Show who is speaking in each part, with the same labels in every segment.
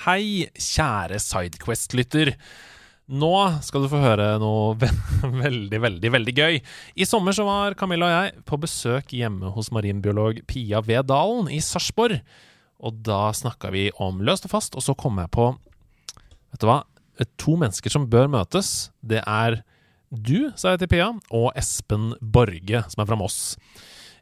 Speaker 1: Hei, kjære Sidequest-lytter. Nå skal du få høre noe ve veldig, veldig veldig gøy. I sommer så var Camilla og jeg på besøk hjemme hos marinbiolog Pia Vedalen i Sarpsborg. Og da snakka vi om løst og fast, og så kom jeg på Vet du hva? To mennesker som bør møtes. Det er du, sa jeg til Pia, og Espen Borge, som er fra Moss.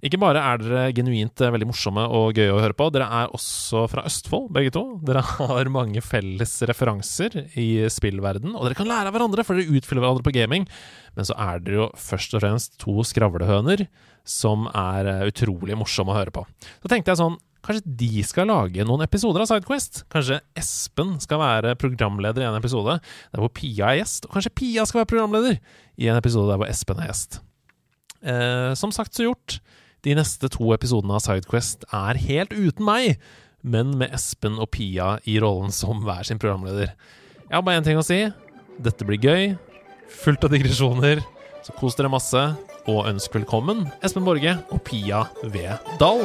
Speaker 1: Ikke bare er dere genuint eh, veldig morsomme og gøye å høre på, dere er også fra Østfold, begge to. Dere har mange felles referanser i spillverden, og dere kan lære av hverandre, for dere utfyller hverandre på gaming. Men så er dere jo først og fremst to skravlehøner som er eh, utrolig morsomme å høre på. Så tenkte jeg sånn, kanskje de skal lage noen episoder av Sidequest? Kanskje Espen skal være programleder i en episode der hvor Pia er gjest, og kanskje Pia skal være programleder i en episode der hvor Espen er gjest. Eh, som sagt så gjort. De neste to episodene av Sidequest er helt uten meg, men med Espen og Pia i rollen som hver sin programleder. Jeg har bare én ting å si. Dette blir gøy. Fullt av digresjoner. Så kos dere masse, og ønsk velkommen Espen Borge og Pia V. Dahl.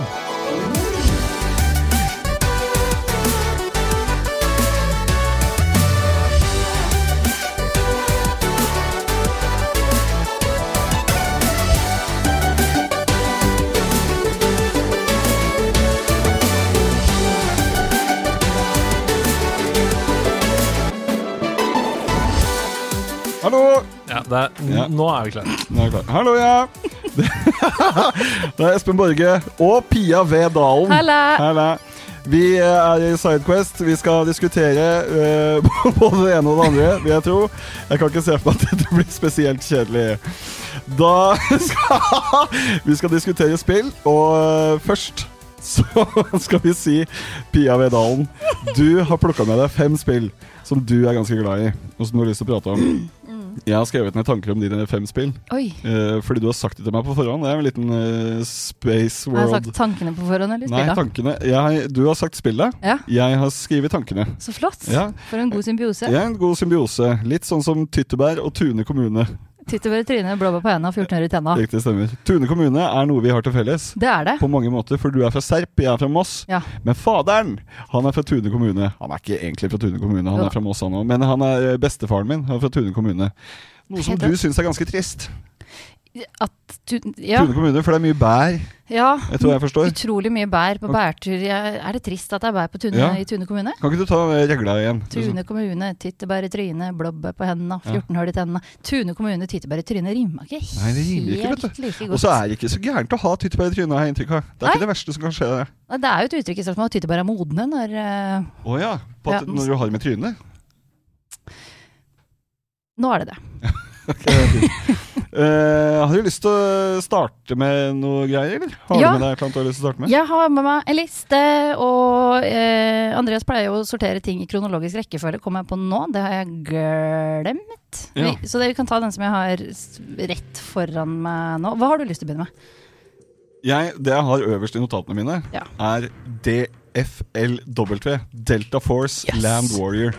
Speaker 2: Hallo!
Speaker 1: Ja, det er, n-
Speaker 2: Ja.
Speaker 1: Nå er vi klare.
Speaker 2: Nå er jeg klar. Hallo, ja! Det det er Espen Borge og Pia V. Dalen.
Speaker 3: Halla!
Speaker 2: Halla. Vi eh, er i Sidequest. Vi skal diskutere eh, både det ene og det andre, vil jeg tro. Jeg kan ikke se for meg at dette blir spesielt kjedelig. Da skal vi skal diskutere spill, og eh, først så skal vi si Pia V. Dalen. Du har plukka med deg fem spill som du er ganske glad i, og som du har lyst til å prate om.
Speaker 3: Mm.
Speaker 2: Jeg har skrevet ned tanker om dine fem spill.
Speaker 3: Oi.
Speaker 2: Eh, fordi du har sagt det til meg på forhånd. Det er en liten eh, space
Speaker 3: Har jeg
Speaker 2: world.
Speaker 3: sagt tankene på forhånd, eller
Speaker 2: Nei,
Speaker 3: spilla?
Speaker 2: tankene. Jeg, du har sagt spillet.
Speaker 3: Ja,
Speaker 2: Jeg har skrevet tankene.
Speaker 3: så flott.
Speaker 2: Ja.
Speaker 3: For en god symbiose.
Speaker 2: Jeg er en god symbiose. Litt sånn som Tyttebær og Tune kommune.
Speaker 3: Titt over i trynet, blåbær på henda og 14 øre i tenna.
Speaker 2: Riktig stemmer. Tune kommune er noe vi har til felles.
Speaker 3: Det er det.
Speaker 2: På mange måter, for du er fra Serp, jeg er fra Moss.
Speaker 3: Ja.
Speaker 2: Men faderen, han er fra Tune kommune. Han er ikke egentlig fra Tune kommune, han
Speaker 3: Jo da.
Speaker 2: er fra Moss han òg. Men han er eh, bestefaren min, han er fra Tune kommune. Noe som
Speaker 3: Helt
Speaker 2: du syns er ganske trist.
Speaker 3: At du, ja.
Speaker 2: Tune kommune, for det er mye bær,
Speaker 3: ja.
Speaker 2: etter hva jeg forstår.
Speaker 3: Utrolig mye bær på bærtur. Jeg, er det trist at det er bær på tune,
Speaker 2: Ja.
Speaker 3: i Tune kommune?
Speaker 2: Kan ikke du ta eh, regla igjen?
Speaker 3: Tune kommune, tyttebær i trynet, blåbær på henda,
Speaker 2: Ja.
Speaker 3: 14 hull i tennene. Tune kommune, tyttebær i trynet rima ikke helt
Speaker 2: Nei, det rimer ikke, vet
Speaker 3: like
Speaker 2: Og
Speaker 3: godt.
Speaker 2: så er det ikke så gærent å ha tyttebær i trynet, har jeg inntrykk av. Det er ikke det verste som kan skje. det.
Speaker 3: Nei, Det er jo et uttrykk i spørsmålet at tyttebær er modne når eh,
Speaker 2: Å ja. På at,
Speaker 3: Ja.
Speaker 2: Når du har med trynet.
Speaker 3: Nå er det det.
Speaker 2: Ok, det er fint. Eh, har du lyst til å starte med noe greier, eller? Har
Speaker 3: Ja.
Speaker 2: du med deg et eller annet du har lyst til å starte med?
Speaker 3: Jeg har med meg en liste, og eh, Andreas pleier jo å sortere ting i kronologisk rekkefølge. Kom jeg på nå? Det har jeg glemt.
Speaker 2: Ja.
Speaker 3: Vi, så det, vi kan ta den som jeg har s- rett foran meg nå. Hva har du lyst til å begynne med?
Speaker 2: Jeg, det jeg har øverst i notatene mine,
Speaker 3: Ja.
Speaker 2: er DFLW. Delta Force
Speaker 3: Yes.
Speaker 2: Land Warrior.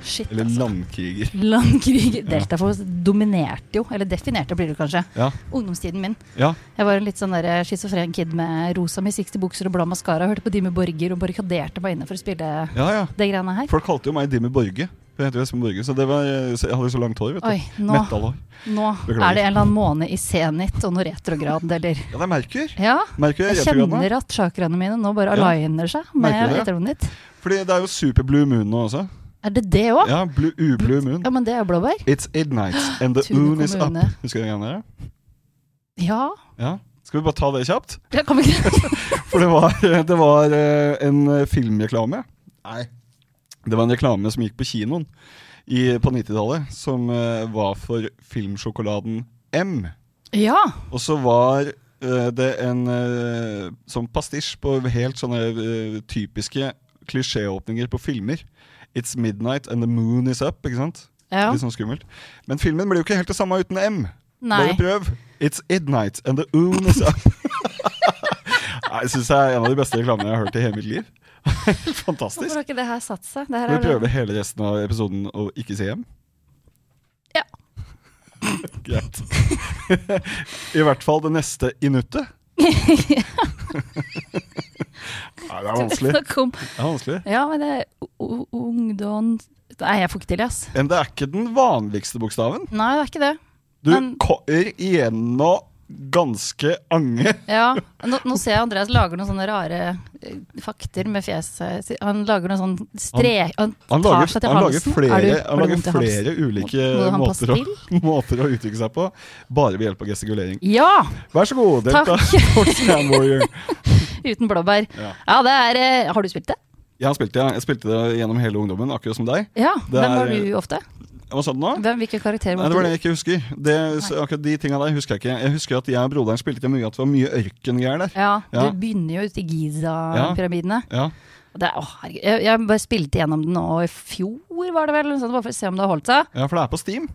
Speaker 3: Shit,
Speaker 2: Eller
Speaker 3: altså.
Speaker 2: landkriger.
Speaker 3: Landkrig. Deltaforce dominerte jo, eller definerte blir det kanskje,
Speaker 2: Ja.
Speaker 3: ungdomstiden min.
Speaker 2: ja.
Speaker 3: Jeg var en litt sånn der schizofren kid med rosa musikkbukser og blå maskara. Hørte på Dimmu Borger og barrikaderte meg inne for å spille
Speaker 2: Ja, ja.
Speaker 3: det greiene her.
Speaker 2: Folk kalte jo meg Dimmy Borge. For jeg heter jo Espen Borge, så det var, så jeg hadde så langt hår, vet du.
Speaker 3: Oi, nå,
Speaker 2: Metallhår.
Speaker 3: nå
Speaker 2: Beklager.
Speaker 3: er det en eller annen måned i senit og noe retrograd, eller
Speaker 2: Ja, det er Merkur.
Speaker 3: Ja.
Speaker 2: Merkur er
Speaker 3: Jeg
Speaker 2: retrograd nå.
Speaker 3: kjenner at chakraene mine nå bare
Speaker 2: Ja.
Speaker 3: aligner seg med
Speaker 2: Merker du det?
Speaker 3: etterhånden ditt.
Speaker 2: Fordi det er jo super blue moon nå også.
Speaker 3: Er det det òg? Ja.
Speaker 2: Ja, blue, ublue moon.
Speaker 3: men det er jo blåbær.
Speaker 2: It's midnight and the
Speaker 3: Tune
Speaker 2: moon is up.
Speaker 3: kommune.
Speaker 2: Husker du den gangen der?
Speaker 3: Ja.
Speaker 2: Ja. Skal vi bare ta det kjapt?
Speaker 3: Jeg kan ikke
Speaker 2: For det var, det var eh, en eh, filmreklame. Nei. Det var en reklame som gikk på kinoen i, på 90-tallet, som eh, var for filmsjokoladen M.
Speaker 3: Ja.
Speaker 2: Og så var eh, det en eh, sånn pastisj på helt sånne eh, typiske klisjéåpninger på filmer. It's midnight and the moon is up. ikke sant?
Speaker 3: Ja.
Speaker 2: Litt sånn skummelt. Men filmen blir jo ikke helt det samme uten M.
Speaker 3: Nei.
Speaker 2: Bare prøv. It's midnight and the moon is up. Nei, Jeg syns det er en av de beste reklamene jeg har hørt i hele mitt liv.
Speaker 3: Hvorfor
Speaker 2: Fantastisk.
Speaker 3: har ikke det her satt seg? Det her
Speaker 2: Vi
Speaker 3: er
Speaker 2: prøver hele resten av episoden å ikke se hjem.
Speaker 3: Ja.
Speaker 2: Greit. I hvert fall det neste inuttet. Nei, det er vanskelig.
Speaker 3: Snakk om
Speaker 2: Det er vanskelig.
Speaker 3: Ja, men det er u- u- ungdom Nei, jeg får ikke til det, ass.
Speaker 2: Men det er ikke den vanligste bokstaven.
Speaker 3: Nei, det er ikke det.
Speaker 2: Du
Speaker 3: Men-
Speaker 2: kommer igjennom ganske ange.
Speaker 3: Ja, nå, nå ser jeg Andreas lager noen sånne rare eh, fakter med fjeset. Han lager noen sånn strek... Han,
Speaker 2: Han
Speaker 3: tar
Speaker 2: lager,
Speaker 3: seg til
Speaker 2: han lager
Speaker 3: halsen. Er
Speaker 2: flere, han
Speaker 3: du- har du
Speaker 2: lager
Speaker 3: vondt i halsen?
Speaker 2: flere ulike
Speaker 3: Må han passe
Speaker 2: måter å,
Speaker 3: til?
Speaker 2: måter å uttrykke seg på, bare ved hjelp av gestikulering.
Speaker 3: Ja!
Speaker 2: Vær så god, delta.
Speaker 3: Takk.
Speaker 2: Fort Scan Warrior.
Speaker 3: Uten blåbær.
Speaker 2: Ja.
Speaker 3: Ja, det er eh, Har du spilt det?
Speaker 2: Jeg har spilt det, jeg spilte det gjennom hele ungdommen, akkurat som deg.
Speaker 3: Ja.
Speaker 2: Det
Speaker 3: Hvem
Speaker 2: er-
Speaker 3: var du ofte?
Speaker 2: Hva sa du nå?
Speaker 3: Hvem, hvilke karakterer
Speaker 2: Nei,
Speaker 3: var
Speaker 2: det var det
Speaker 3: du?
Speaker 2: jeg ikke husker. Det, så akkurat De tinga der husker jeg ikke. Jeg husker at jeg og broderen spilte mye at det var mye ørkengreier der.
Speaker 3: Ja,
Speaker 2: Ja.
Speaker 3: Du begynner jo ute i Giza-pyramidene.
Speaker 2: Ja.
Speaker 3: Det er, å, herregud. Jeg, jeg bare spilte gjennom den nå i fjor, var det vel? eller noe sånt, Bare for å se om det har holdt seg.
Speaker 2: ja, for det er på Steam.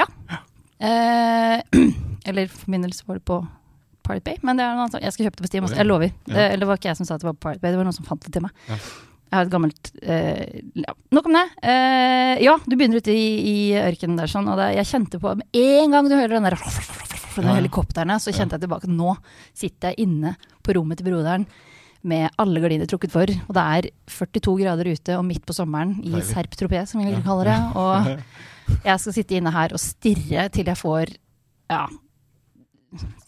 Speaker 3: Eh, eller for min del så var det på Pirate Bay, men det er en annen sak. Jeg skal kjøpe det på Steam også, jeg lover.
Speaker 2: Ja.
Speaker 3: Det, eller det var ikke jeg som sa at det var på Pirate Bay, det var noen som fant det til meg.
Speaker 2: Ja.
Speaker 3: Jeg har et gammelt eh, ja. Nok om det. Eh, ja, du begynner ute i, i ørkenen der sånn, og det, jeg kjente på Med en gang du hører den der fra de
Speaker 2: Ja, ja.
Speaker 3: helikoptrene, så kjente jeg tilbake. Nå sitter jeg inne på rommet til broderen med alle gardiner trukket for, og det er 42 grader ute og midt på sommeren i
Speaker 2: Deilig.
Speaker 3: serp tropé, som vi vil kalle det. Og jeg skal sitte inne her og stirre til jeg får ja,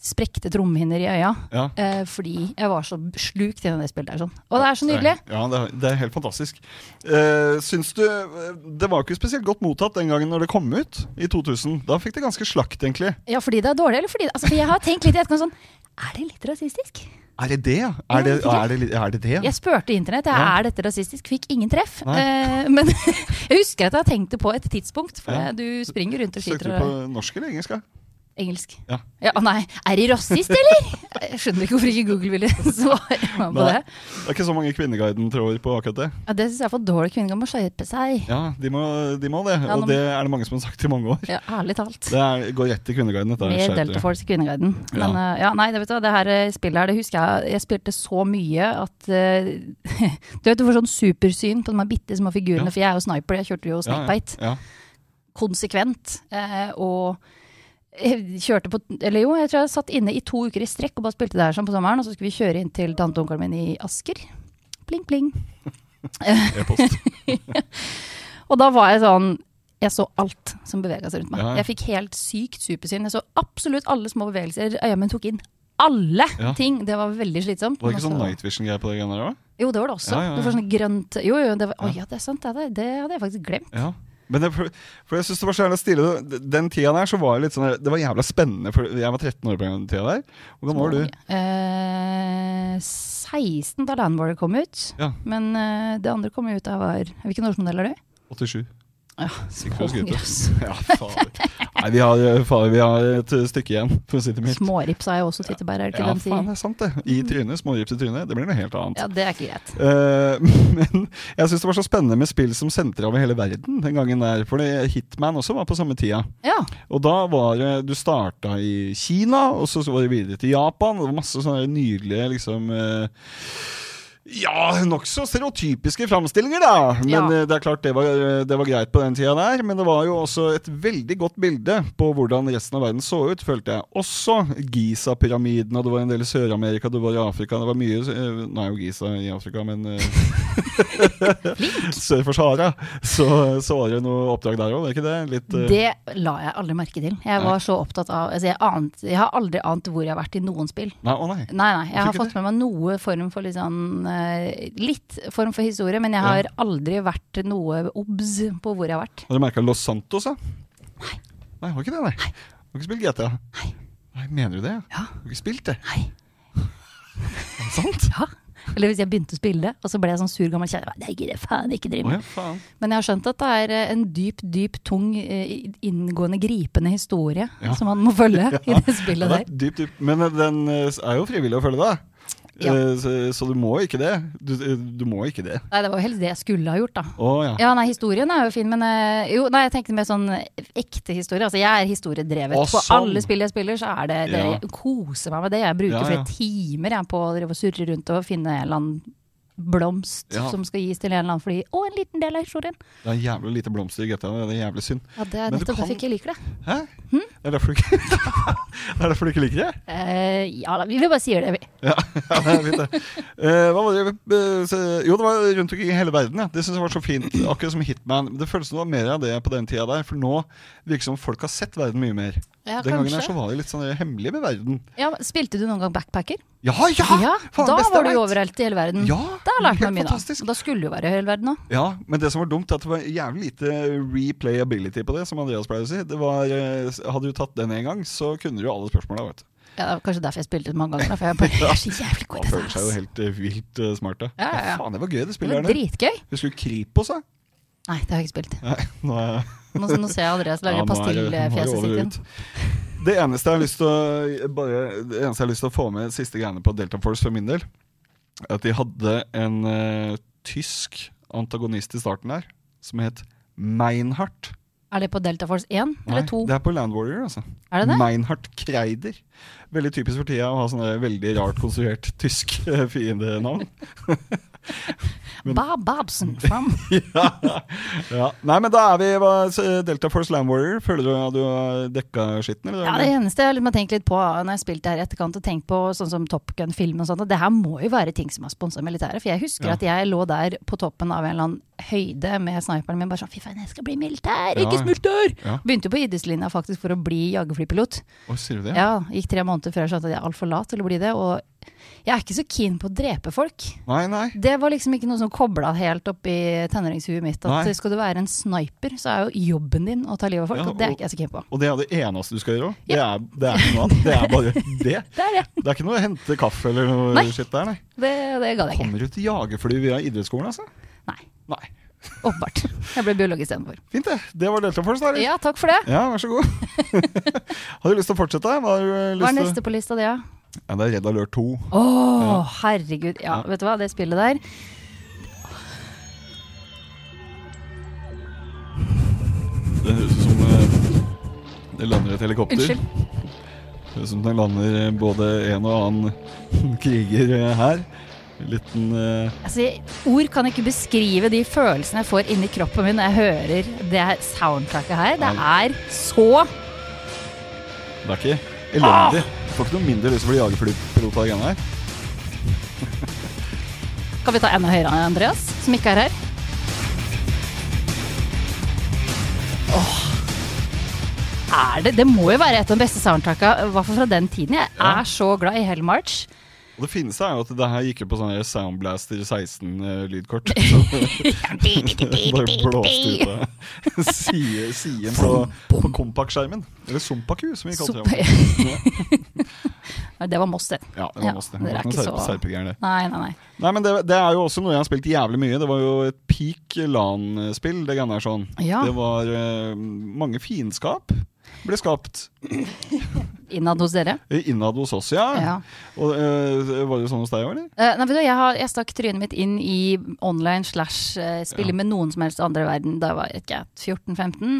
Speaker 3: sprekte trommehinner i øya.
Speaker 2: Ja.
Speaker 3: Eh, fordi jeg var så slukt i det spillet. Der, sånn. Og det er så nydelig!
Speaker 2: Ja, det er, det er helt fantastisk. Eh, syns du eh, Det var jo ikke spesielt godt mottatt den gangen når det kom ut, i 2000. Da fikk det ganske slakt, egentlig.
Speaker 3: Ja, fordi det er dårlig, eller fordi altså, For jeg har tenkt litt i etterkant sånn Er det litt rasistisk?
Speaker 2: Er det det, ja? Er det er det, li- er det, det ja?
Speaker 3: Jeg spurte internett. Jeg,
Speaker 2: Ja.
Speaker 3: er dette rasistisk? Fikk ingen treff.
Speaker 2: Nei.
Speaker 3: Eh, men jeg husker at jeg tenkte på et tidspunkt, for
Speaker 2: Ja.
Speaker 3: jeg- du springer rundt og
Speaker 2: Søkte
Speaker 3: skyter
Speaker 2: du
Speaker 3: og
Speaker 2: på norsk eller engelsk? ja?
Speaker 3: engelsk.
Speaker 2: Ja.
Speaker 3: Ja, nei, er de rasist, eller? Jeg skjønner ikke hvorfor ikke Google ville svare meg på
Speaker 2: Nei.
Speaker 3: det.
Speaker 2: Det er ikke så mange Kvinneguiden-tråder på akkurat det.
Speaker 3: Ja, det syns jeg er for dårlig. Kvinner må skjerpe seg.
Speaker 2: Ja, de må, de må det.
Speaker 3: Ja, nå-
Speaker 2: Og det er det mange som har sagt i mange år.
Speaker 3: Ja, ærlig talt.
Speaker 2: Det er, går rett til Kvinneguiden. Dette
Speaker 3: Mer
Speaker 2: skjerper
Speaker 3: Delta
Speaker 2: det.
Speaker 3: Force i Kvinneguiden.
Speaker 2: Ja.
Speaker 3: Men eh, ja, nei, det, vet du, hva, det her eh, spillet her, det husker jeg. Jeg spilte så mye at eh, Du vet du får sånn supersyn på de her bitte små figurene,
Speaker 2: Ja.
Speaker 3: for jeg er jo sniper, jeg kjørte jo snakebite
Speaker 2: Ja, ja.
Speaker 3: konsekvent. eh, og jeg kjørte på Eller jo, jeg tror jeg satt inne i to uker i strekk og bare spilte det her sånn på sommeren, og så skulle vi kjøre inn til tante og onkelen min i Asker. Pling, pling.
Speaker 2: ja. E-post.
Speaker 3: Og da var jeg sånn jeg så alt som bevega seg rundt meg.
Speaker 2: Ja, ja.
Speaker 3: Jeg fikk helt sykt supersyn. Jeg så absolutt alle små bevegelser. Øyemen tok inn alle
Speaker 2: Ja.
Speaker 3: ting. Det var veldig slitsomt.
Speaker 2: Var det ikke
Speaker 3: men
Speaker 2: sånn
Speaker 3: også-
Speaker 2: night vision-greier på det greiene der òg?
Speaker 3: Jo, det var det også.
Speaker 2: Ja, ja, ja.
Speaker 3: Du får sånn grønt Jo, jo, det var Å
Speaker 2: Ja.
Speaker 3: ja, det er sant. Det, er det. det hadde jeg faktisk glemt.
Speaker 2: Ja. Men det, for, for jeg synes det var så jævla stille. Den tida der så var det litt sånn der- Det var jævla spennende, for jeg var 13 år på den tida der. Hvor gammel var du?
Speaker 3: Eh, 16 da Landborder kom ut.
Speaker 2: Ja.
Speaker 3: Men eh, det andre kom jo ut da jeg var Hvilken årsmodell er du?
Speaker 2: 87.
Speaker 3: Ja,
Speaker 2: Ikke for å skryte.
Speaker 3: smågrøss.
Speaker 2: Ja, fader. Nei, vi har, fader, vi har et stykke igjen, for å si det mildt.
Speaker 3: Smårips har jeg også tyttebær, er det ikke
Speaker 2: Ja,
Speaker 3: den
Speaker 2: faen,
Speaker 3: sier?
Speaker 2: det er sant, det. I trynet. Smågips i trynet. Det blir noe helt annet.
Speaker 3: Ja, det er ikke greit.
Speaker 2: Eh, men jeg syns det var så spennende med spill som sentrer over hele verden den gangen der. For det- Hitman også var på samme tida.
Speaker 3: Ja.
Speaker 2: Og da var det Du starta i Kina, og så så var det videre til Japan. Og det var masse sånne nydelige liksom eh, ja, nokså stereotypiske framstillinger, da. Men
Speaker 3: Ja.
Speaker 2: eh, det er klart det var, eh, det var greit på den tida der. Men det var jo også et veldig godt bilde på hvordan resten av verden så ut, følte jeg. Også Giza-pyramiden, og det var en del i Sør-Amerika, det var i Afrika. Det var mye eh, Nå er jo Giza i Afrika, men eh, Sør for Sahara. Så, så var det noe oppdrag der òg, var det ikke det? Litt eh,
Speaker 3: Det la jeg aldri merke til. Jeg
Speaker 2: Nei.
Speaker 3: var så opptatt av altså jeg, ant, jeg har aldri ant hvor jeg har vært i noen spill.
Speaker 2: Nei, å nei.
Speaker 3: Nei, nei. Jeg
Speaker 2: Hvorfor
Speaker 3: har
Speaker 2: ikke
Speaker 3: fått med meg noe form for litt sånn eh, Litt form for historie, men jeg har aldri vært noe obs på hvor jeg har vært.
Speaker 2: Har du merka Los Santos, da? Nei. Nei, Har ikke det, nei? Har ikke spilt GTA? Nei. nei mener du det?
Speaker 3: Ja.
Speaker 2: Har ikke spilt det?
Speaker 3: Nei.
Speaker 2: Er det sant?
Speaker 3: Ja. Eller hvis jeg begynte å spille det, og så ble jeg sånn sur gammel kjerre. Det gidder jeg faen ikke drive
Speaker 2: Å
Speaker 3: med.
Speaker 2: ja, faen.
Speaker 3: Men jeg har skjønt at det er eh, en dyp, dyp, tung, eh, inngående, gripende historie
Speaker 2: Ja.
Speaker 3: som man må følge i det spillet
Speaker 2: Ja, det
Speaker 3: der.
Speaker 2: er dypt, dypt. Men eh, den eh, er jo frivillig å følge, da.
Speaker 3: Ja.
Speaker 2: Eh, Så, så du må ikke det. Du, eh, du må ikke det.
Speaker 3: Nei, det var jo helst det jeg skulle ha gjort, da.
Speaker 2: Å ja.
Speaker 3: Ja, nei, historien er jo fin, men eh, jo, nei, jeg tenkte mer sånn ekte historie. Altså, jeg er historiedrevet.
Speaker 2: Å,
Speaker 3: På
Speaker 2: sånn.
Speaker 3: alle spill jeg spiller, så er det, det
Speaker 2: Ja.
Speaker 3: Jeg koser meg med det. Jeg bruker
Speaker 2: Ja, ja.
Speaker 3: flere timer jeg, på å drive og surre rundt og finne en eller annen blomst
Speaker 2: Ja.
Speaker 3: som skal gis til en eller annen fordi Å, en liten del av historien!
Speaker 2: Det er jævlig lite blomster i GTA. Det er jævlig synd.
Speaker 3: Ja, det er
Speaker 2: Men du
Speaker 3: nettopp
Speaker 2: kan-
Speaker 3: derfor ikke jeg liker det.
Speaker 2: Hæ? Det er derfor du ikke Det er derfor du ikke liker det?
Speaker 3: Eh, ja da, vi vi bare sier det, vi.
Speaker 2: Ja, ja, det er fint, det. Eh, hva var det? Eh, så- Jo, det var rundt omkring i hele verden. Ja. Det synes jeg var så fint. Akkurat som Hitman. Men Det føles som det var mer av det på den tida der, for nå virker det som folk har sett verden mye mer.
Speaker 3: Ja,
Speaker 2: den gangen her så var det litt sånn hemmelig med verden.
Speaker 3: Ja, spilte du noen gang backpacker?
Speaker 2: Ja, ja!
Speaker 3: ja,
Speaker 2: Faen,
Speaker 3: da
Speaker 2: beste jeg
Speaker 3: var du
Speaker 2: vet.
Speaker 3: jo overalt i hele verden.
Speaker 2: Ja,
Speaker 3: Da lærte
Speaker 2: helt
Speaker 3: man mye, da.
Speaker 2: fantastisk.
Speaker 3: Og Da skulle du jo være i hele verden òg.
Speaker 2: Ja, men det som var dumt, er at det var jævlig lite replayability på det, som Andreas pleier å si. Det var, eh, hadde du tatt den en gang, så kunne du jo alle spørsmåla, vet du.
Speaker 3: Ja, det var kanskje derfor jeg spilte det mange ganger, da, for jeg bare jeg er så jævlig god
Speaker 2: Man
Speaker 3: i dette.
Speaker 2: føler seg jo
Speaker 3: ass.
Speaker 2: helt eh, vilt eh, smart, da.
Speaker 3: Ja, ja, ja.
Speaker 2: Faen, det var gøy, det
Speaker 3: Det var
Speaker 2: spillet her. nå.
Speaker 3: dritgøy.
Speaker 2: Husker du Kripos, da?
Speaker 3: Nei, det har jeg ikke spilt.
Speaker 2: Nei, nå er jeg
Speaker 3: Nå, nå ser jeg Andreas lage
Speaker 2: Ja, nå er det- nå er det
Speaker 3: pastillfjeset
Speaker 2: over
Speaker 3: sitt
Speaker 2: og
Speaker 3: igjen.
Speaker 2: ut. Det eneste jeg har lyst til å bare, Det eneste jeg har lyst til å få med siste greiene på Delta Force for min del, er at de hadde en eh, tysk antagonist i starten der, som het Meinhardt.
Speaker 3: Er det på Delta Force 1 eller 2?
Speaker 2: Det er på Land Warrior, altså.
Speaker 3: Er det det?
Speaker 2: Meinhardt Kreider. Veldig typisk for tida å ha sånne veldig rart konstruert tysk eh, fiendenavn. men-
Speaker 3: Bob Bobson from
Speaker 2: ja. ja. Nei, men da er vi hva- så Delta Force Land Warrior. Føler du at du har dekka skitten, eller?
Speaker 3: Ja, det eneste jeg liksom har tenkt litt på når jeg spilte her i etterkant, og tenkt på sånn som Top Gun-film og sånt, at det her må jo være ting som er sponsa av militæret. For jeg husker
Speaker 2: Ja.
Speaker 3: at jeg lå der på toppen av en eller annen høyde med sniperen min, bare sånn fy faen, jeg skal bli militær,
Speaker 2: Ja,
Speaker 3: ikke
Speaker 2: ja.
Speaker 3: smulter!
Speaker 2: Ja.
Speaker 3: Begynte jo på idrettslinja faktisk for å bli jagerflypilot.
Speaker 2: Oi, sier du det?
Speaker 3: Ja, gikk tre måneder før jeg skjønte at jeg er altfor lat til å bli det. Og jeg er ikke så keen på å drepe folk.
Speaker 2: Nei, nei.
Speaker 3: Det var liksom ikke noe som kobla helt opp i tenåringshuet mitt. At
Speaker 2: Nei.
Speaker 3: skal du være en sniper, så er jo jobben din å ta livet av folk.
Speaker 2: Ja,
Speaker 3: og det
Speaker 2: og-
Speaker 3: er ikke jeg så keen på.
Speaker 2: Og det er det eneste du skal gjøre òg. Det,
Speaker 3: Ja.
Speaker 2: er- det er ikke noe annet. Det er bare det.
Speaker 3: Det er det.
Speaker 2: Det er ikke noe å hente kaffe eller noe
Speaker 3: Nei.
Speaker 2: shit der, nei.
Speaker 3: Det, det gadd jeg ikke.
Speaker 2: Kommer du til jagerfly via idrettsskolen, altså?
Speaker 3: Nei.
Speaker 2: Nei.
Speaker 3: Åpenbart. Jeg ble biolog istedenfor.
Speaker 2: Fint, det. Det var Delta Force, da. eller?
Speaker 3: Ja, takk for det.
Speaker 2: ja, vær så god. har du lyst til å fortsette? Hva har du eh,
Speaker 3: Hva er
Speaker 2: lyst til?
Speaker 3: neste på lista di, da?
Speaker 2: Ja, det er Red Alert 2.
Speaker 3: Å, herregud. Ja, vet du hva, det spillet der
Speaker 2: Det høres ut som eh, det lander et helikopter.
Speaker 3: Unnskyld.
Speaker 2: Det høres ut som det lander eh, både en og annen kriger eh, her. En liten eh,
Speaker 3: Altså, ord kan ikke beskrive de følelsene jeg får inni kroppen min når jeg hører det her soundtracket her. Det er så
Speaker 2: Det er ikke elendig.
Speaker 3: Ah!
Speaker 2: Du får ikke noe mindre lyst til å bli jagerflypilot av de greiene her.
Speaker 3: Kan vi ta enda høyere, Andreas, som ikke er her? Åh. Er det? det må jo være et av de beste soundtracka, i hvert fall fra den tiden. Jeg
Speaker 2: Ja.
Speaker 3: er så glad i Hellmarch.
Speaker 2: Og det fineste er jo at det her gikk jo på sånne Soundblaster eh, 16-lydkort. Bare blåste ut av side- siden på, på kompakskjermen. Eller Sumpaku, som vi kalte det.
Speaker 3: Nei, Det var Moss, det.
Speaker 2: Ja, det
Speaker 3: Ja,
Speaker 2: var masse. Det
Speaker 3: dere
Speaker 2: var
Speaker 3: er
Speaker 2: ikke
Speaker 3: ikke
Speaker 2: noe
Speaker 3: så-
Speaker 2: serpegreier, det.
Speaker 3: Nei, nei, nei.
Speaker 2: Nei, men det, det er jo også noe jeg har spilt jævlig mye. Det var jo et peak LAN-spill. Det greiene der sånn.
Speaker 3: Ja.
Speaker 2: Det var eh, mange fiendskap ble skapt.
Speaker 3: Innad hos dere.
Speaker 2: Innad hos oss, ja.
Speaker 3: Ja.
Speaker 2: Og, eh, var det sånn hos deg òg, eller?
Speaker 3: Eh, nei, vet du, jeg, har, jeg stakk trynet mitt inn i online slash eh, spille
Speaker 2: Ja.
Speaker 3: med noen som helst andre i verden da jeg var ikke jeg, 14-15,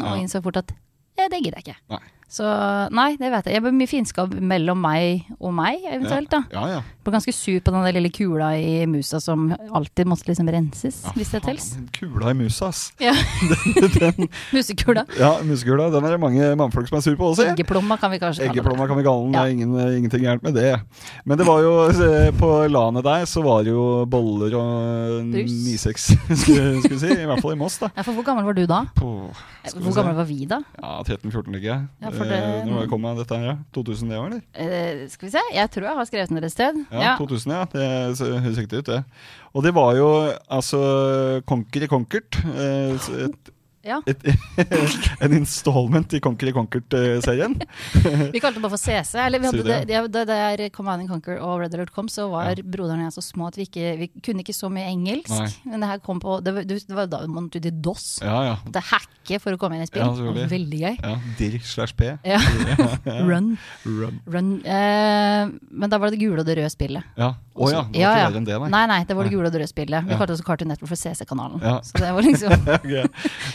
Speaker 2: Ja.
Speaker 3: og innså fort at eh, det gidder jeg ikke.
Speaker 2: Nei.
Speaker 3: Så nei, det vet jeg. Jeg ble mye fiendskap mellom meg og meg, eventuelt. da.
Speaker 2: Ja, ja.
Speaker 3: Jeg Ble ganske sur på den der lille kula i musa som alltid måtte liksom renses,
Speaker 2: Ja,
Speaker 3: hvis det
Speaker 2: Ah, faen,
Speaker 3: tels.
Speaker 2: den Kula i musa, ass.
Speaker 3: Ja.
Speaker 2: Den,
Speaker 3: Musekula.
Speaker 2: Ja, musekula. Den er det mange mannfolk som er sur på også. si.
Speaker 3: Eggeplomma kan vi kanskje
Speaker 2: Eggeplomma kan vi kalle den. Det
Speaker 3: Ja.
Speaker 2: er ingen, ingenting gærent med det. Men det var jo eh, på lanet der så var det jo boller og
Speaker 3: Brus.
Speaker 2: 96, skulle skulle vi si. I hvert fall i Moss, da.
Speaker 3: Ja, for hvor gammel var du da?
Speaker 2: På Skal vi
Speaker 3: Hvor
Speaker 2: se.
Speaker 3: gammel var vi da?
Speaker 2: ja, 13-14, ligger jeg.
Speaker 3: Ja, for
Speaker 2: Eh,
Speaker 3: det-
Speaker 2: Når kom jeg dette her? ja? 2000 det var, eller?
Speaker 3: Eh, skal vi se, jeg tror jeg har skrevet ned et sted.
Speaker 2: Ja,
Speaker 3: Ja.
Speaker 2: 2000, ja. Det ser- høres riktig ut, det. Og det var jo altså Conquer i Conquert. eh, Et
Speaker 3: Ja.
Speaker 2: Et, en installment i Conquer i eh, Conquert-serien.
Speaker 3: Vi kalte det bare for CC. Eller vi
Speaker 2: Sier
Speaker 3: hadde det,
Speaker 2: det,
Speaker 3: det, det, der Command and Conquer og Red Alert kom, så var broderen og jeg så små at vi ikke vi kunne ikke så mye engelsk.
Speaker 2: Nei.
Speaker 3: Men det her kom på Det, var- det var da vi måtte ut i DOS.
Speaker 2: Ja, ja.
Speaker 3: Det er hacke for å komme inn i spill.
Speaker 2: Ja, selvfølgelig.
Speaker 3: Veldig gøy.
Speaker 2: ja. Dir slash P.
Speaker 3: Ja. Run.
Speaker 2: Run.
Speaker 3: Run. Eh, men da var det det gule og det røde spillet.
Speaker 2: Ja. Altså, Å ja, det var
Speaker 3: Ja,
Speaker 2: ikke
Speaker 3: ja.
Speaker 2: verre enn det, nei.
Speaker 3: Nei, nei, det var det gule og det røde spillet. Vi
Speaker 2: Ja.
Speaker 3: kalte det også Cartoon Network for CC-kanalen.
Speaker 2: Ja.
Speaker 3: Så det var liksom
Speaker 2: Ok.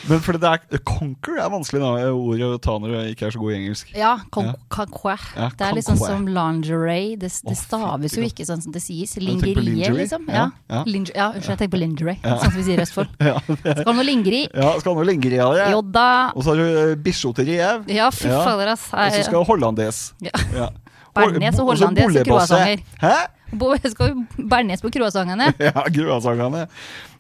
Speaker 2: Men fordi det er Conquer er vanskelig da, ord å ta når jeg ikke er så god i engelsk.
Speaker 3: Ja, con
Speaker 2: Ja.
Speaker 3: conquer.
Speaker 2: Ja,
Speaker 3: Det er litt sånn
Speaker 2: conquer.
Speaker 3: som lingerie. Det,
Speaker 2: Å,
Speaker 3: det staves jo
Speaker 2: fytti
Speaker 3: ikke sånn som det sies.
Speaker 2: du tenker på
Speaker 3: Lingerie,
Speaker 2: lingerie?
Speaker 3: liksom. Ja,
Speaker 2: Ja,
Speaker 3: ja.
Speaker 2: ja.
Speaker 3: Linge ja unnskyld, jeg tenker på lingerie, sånn som vi sier i Østfold.
Speaker 2: Ja,
Speaker 3: Skal ha noe lingeri.
Speaker 2: ja skal ha noe lenger i det.
Speaker 3: Jo da.
Speaker 2: Og så har du eh, biskjoter i Ev.
Speaker 3: Ja, fy
Speaker 2: Ja.
Speaker 3: fader, ass.
Speaker 2: Og så skal du ha hollandes.
Speaker 3: Ja.
Speaker 2: Ja.
Speaker 3: Bernes og
Speaker 2: bo- så
Speaker 3: hollandes og
Speaker 2: bollebasse.
Speaker 3: croissanter.
Speaker 2: Hæ?
Speaker 3: Bo- Skal vi bernes på croissantene?
Speaker 2: Ja, Gruasangene.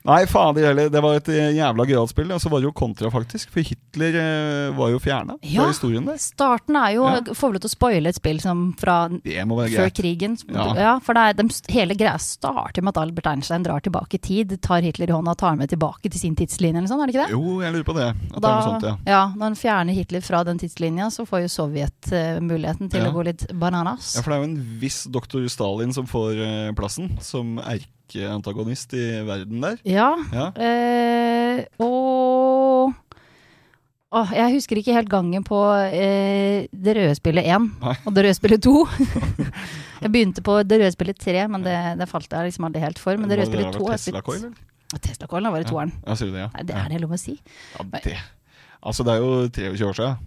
Speaker 2: Nei, faen det gjelder. Det var et eh, jævla gøyalt spill. Og så var det jo kontra, faktisk. For Hitler eh, var jo fjerna
Speaker 3: Ja.
Speaker 2: fra historien der.
Speaker 3: Starten er jo
Speaker 2: Ja.
Speaker 3: Får vi lov til å spoile et spill som fra
Speaker 2: Det må være
Speaker 3: før
Speaker 2: greit.
Speaker 3: krigen? Ja,
Speaker 2: Ja.
Speaker 3: for det er, dem- hele greia starter med at Albert Einstein drar tilbake i tid, tar Hitler i hånda og tar med tilbake til sin tidslinje, eller noe sånt, er det ikke det?
Speaker 2: Jo, jeg lurer på det. At det
Speaker 3: da,
Speaker 2: er noe sånt, ja.
Speaker 3: Når han fjerner Hitler fra den tidslinja, så får jo Sovjet eh, muligheten til
Speaker 2: Ja.
Speaker 3: å gå litt bananas.
Speaker 2: Ja, for det er jo en viss doktor Stalin som får eh, plassen som erkeantagonist i verden der.
Speaker 3: Ja.
Speaker 2: Ja.
Speaker 3: eh, og Åh, jeg husker ikke helt gangen på eh, det røde spillet 1
Speaker 2: Nei.
Speaker 3: og det røde spillet 2. jeg begynte på det røde spillet 3, men det, det falt jeg liksom aldri helt for. Men det røde spillet 2
Speaker 2: Tesla Coil, eller?
Speaker 3: Tesla-coilen var i toeren.
Speaker 2: Ja, sier du det, ja.
Speaker 3: Nei, Det er det lov å si.
Speaker 2: ja, det. Altså, det er jo 23 år siden.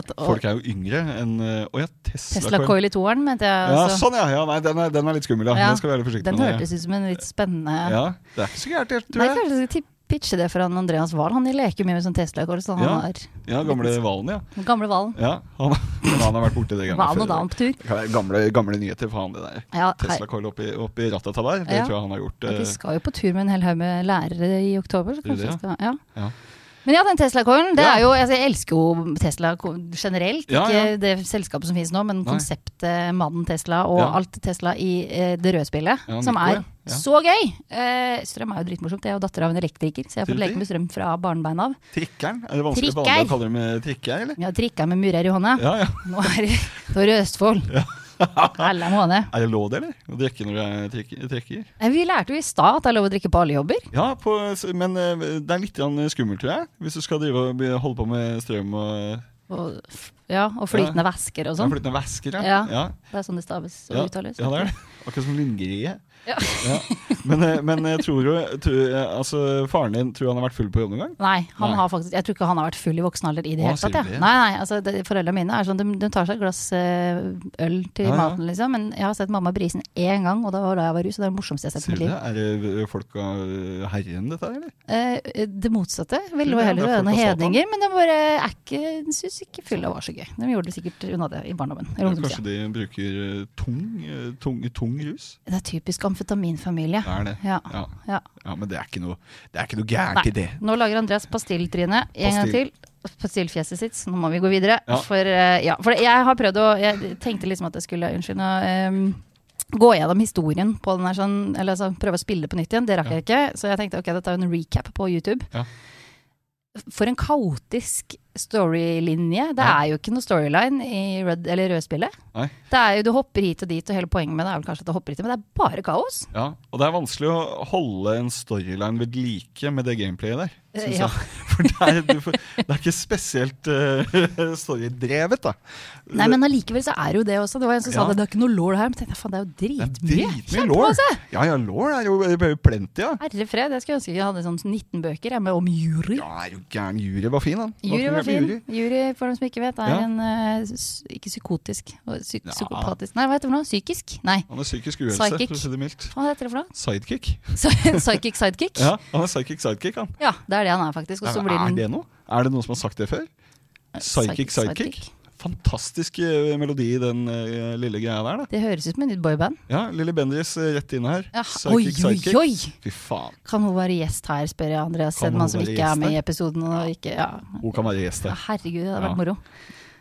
Speaker 3: At, å,
Speaker 2: Folk er jo yngre enn eh, Å ja, Tesla,
Speaker 3: Tesla
Speaker 2: Coil.
Speaker 3: Coil i toeren, mente jeg.
Speaker 2: Ja,
Speaker 3: altså.
Speaker 2: sånn, ja. ja nei, den, er, den er litt skummel, ja.
Speaker 3: Ja,
Speaker 2: Den skal vi være litt forsiktige
Speaker 3: Den
Speaker 2: med.
Speaker 3: hørtes ut som en litt spennende
Speaker 2: ja. Det er ikke så gærent, jeg
Speaker 3: Nei,
Speaker 2: tror jeg.
Speaker 3: kanskje jeg skal ti- pitche det for han Andreas Wahl. Han leker mye med sånn Tesla-kort. Så han
Speaker 2: Ja.
Speaker 3: har
Speaker 2: Ja, Gamle Valen, ja.
Speaker 3: den gamle Valen.
Speaker 2: ja han, han har vært borti det
Speaker 3: Valen og
Speaker 2: før.
Speaker 3: Dalen på tur.
Speaker 2: Gamle, gamle nyheter, faen det der.
Speaker 3: Ja, hei.
Speaker 2: Tesla Coil oppi, oppi rattet av der, det
Speaker 3: Ja.
Speaker 2: tror jeg han har gjort.
Speaker 3: Vi
Speaker 2: eh,
Speaker 3: skal jo på tur med en hel haug med lærere i oktober.
Speaker 2: Er
Speaker 3: Så
Speaker 2: det
Speaker 3: kanskje jeg
Speaker 2: det,
Speaker 3: skal, ja.
Speaker 2: Ja.
Speaker 3: Men ja, den Tesla-kålen. Det
Speaker 2: Ja.
Speaker 3: er jo, altså, jeg elsker jo Tesla ko- generelt.
Speaker 2: Ja,
Speaker 3: ikke
Speaker 2: ja.
Speaker 3: det selskapet som finnes nå, men
Speaker 2: Nei.
Speaker 3: konseptet mannen Tesla og
Speaker 2: Ja.
Speaker 3: alt Tesla i eh, det røde spillet.
Speaker 2: Ja,
Speaker 3: som
Speaker 2: Nico,
Speaker 3: er
Speaker 2: ja. Ja.
Speaker 3: så gøy! Eh, strøm er jo dritmorsomt. Jeg er jo datter av en elektriker, så jeg har fått
Speaker 2: Tror du
Speaker 3: leke med strøm fra barnebein av.
Speaker 2: Trikkeren? Er det vanskelig for
Speaker 3: Trikker.
Speaker 2: andre å kalle dem eh, trikker, eller?
Speaker 3: Jeg har trikka med murer i hånda.
Speaker 2: Ja, ja.
Speaker 3: Nå er det, nå er det Østfold. Hella måned.
Speaker 2: Er det lov det, eller? Å drikke når du trekker? trekker?
Speaker 3: Nei, Vi lærte jo i stad at det er lov å drikke på alle jobber.
Speaker 2: Ja, på, men eh, det er litt grann skummelt, tror jeg. Hvis du skal drive og be- holde på med strøm og
Speaker 3: Og, f- ja, og flytende væsker og
Speaker 2: ja,
Speaker 3: sånn.
Speaker 2: flytende væsker.
Speaker 3: Ja.
Speaker 2: ja.
Speaker 3: Det er sånn det staves og
Speaker 2: ja.
Speaker 3: uttales.
Speaker 2: ja det er det. Akkurat som Lindgrie.
Speaker 3: Ja.
Speaker 2: Men, eh, men jeg tror jo tror, Altså, faren din tror han har vært full på jobb noen gang?
Speaker 3: Nei, han
Speaker 2: Nei.
Speaker 3: har faktisk, jeg tror ikke han har vært full i voksen alder i det
Speaker 2: Å,
Speaker 3: hele tatt.
Speaker 2: sier
Speaker 3: Ja.
Speaker 2: du det?
Speaker 3: Nei, nei, altså, det, Foreldrene mine er sånn, de, de tar seg et glass eh, øl til
Speaker 2: Ja, ja.
Speaker 3: maten, liksom. Men jeg har sett mamma brisen én gang, og det var da jeg var rus. Og det er det morsomste jeg har sett i
Speaker 2: Sier
Speaker 3: mitt
Speaker 2: du
Speaker 3: liv.
Speaker 2: det? Er det folk av herren, dette her, eller?
Speaker 3: Eh, det motsatte ville
Speaker 2: Sier du
Speaker 3: jo
Speaker 2: det?
Speaker 3: heller
Speaker 2: Det er
Speaker 3: være
Speaker 2: folk
Speaker 3: noen
Speaker 2: av Satan.
Speaker 3: hedninger, men det bare er ikke syns ikke fylla var så gøy. De gjorde det sikkert unna det i barndommen. Eller
Speaker 2: Ja,
Speaker 3: ungdomstida.
Speaker 2: kanskje de bruker eh, tung, eh, tung, tung rus?
Speaker 3: Det er typisk amfetaminfamilie.
Speaker 2: Det er det.
Speaker 3: Ja.
Speaker 2: Ja.
Speaker 3: Ja.
Speaker 2: ja, men det er ikke noe, det er ikke noe gærent
Speaker 3: Nei.
Speaker 2: i det.
Speaker 3: Nå lager Andreas pastilltryne en gang til.
Speaker 2: Pastill.
Speaker 3: Pastillfjeset sitt, så nå må vi gå videre.
Speaker 2: Ja.
Speaker 3: For, eh, ja, for jeg har prøvd å Jeg tenkte liksom at jeg skulle Unnskyld. Nå, ehm, Gå gjennom historien på den her sånn, eller altså prøve å spille det på nytt igjen. Det rakk jeg ikke. Så jeg tenkte ok, dette er jo en recap på YouTube.
Speaker 2: Ja.
Speaker 3: For en kaotisk storylinje. Det
Speaker 2: Ja.
Speaker 3: er jo ikke noe storyline i Red eller Rødspillet.
Speaker 2: Nei.
Speaker 3: Det er jo du hopper hit og dit, og hele poenget med det er vel kanskje at du hopper hit, men det er bare kaos.
Speaker 2: Ja, og det er vanskelig å holde en storyline ved like med det gameplayet der. synes
Speaker 3: Eh, Ja.
Speaker 2: jeg. For det er, du, får- det er ikke spesielt eh, storydrevet, da.
Speaker 3: Nei, men allikevel så er det jo det også. Det var en som sa
Speaker 2: Ja.
Speaker 3: det, det er ikke noe lår her. Men tenkte jeg, faen, det er jo
Speaker 2: det er
Speaker 3: dritmye.
Speaker 2: dritmye law.
Speaker 3: Kjempemasse!
Speaker 2: Ja, ja, law er jo det er jo plenty, ja.
Speaker 3: Herre fred, jeg skulle ønske jeg hadde sånn 19 bøker jeg, med om jury.
Speaker 2: Ja, er jo gæren. Jury var fin, han.
Speaker 3: Jury var fin. Jury, for dem som ikke vet, er
Speaker 2: Ja.
Speaker 3: en eh, s- Ikke psykotisk, og psy
Speaker 2: Ja.
Speaker 3: psykopatisk Nei, hva heter det for noe? Psykisk? Nei.
Speaker 2: Han er psykisk uhelse,
Speaker 3: Psychic.
Speaker 2: for å si det mildt.
Speaker 3: Hva heter det for noe?
Speaker 2: Sidekick.
Speaker 3: Så, en psychic sidekick? Ja.
Speaker 2: Ja, han er psychic sidekick, han.
Speaker 3: det er det han er, faktisk. Og så
Speaker 2: Er,
Speaker 3: blir
Speaker 2: er
Speaker 3: den Eh,
Speaker 2: det noe? Er det noen som har sagt det før? Psychic sidekick? Fantastisk eh, melodi i den eh, lille greia der, da.
Speaker 3: Det høres ut som et nytt boyband.
Speaker 2: Ja, Lilly Bendriss eh, rett inn her.
Speaker 3: Ja. Oi,
Speaker 2: Psychic
Speaker 3: oi,
Speaker 2: sidekick.
Speaker 3: oi!
Speaker 2: Fy faen.
Speaker 3: Kan hun være gjest her, spør jeg Andreas
Speaker 2: Kan hun
Speaker 3: Sedman, som
Speaker 2: være
Speaker 3: ikke er
Speaker 2: gjest
Speaker 3: med i
Speaker 2: her?
Speaker 3: episoden. Og ikke, ja.
Speaker 2: Hun kan være gjest
Speaker 3: Ja,
Speaker 2: der.
Speaker 3: Herregud, det hadde
Speaker 2: Ja.
Speaker 3: vært moro.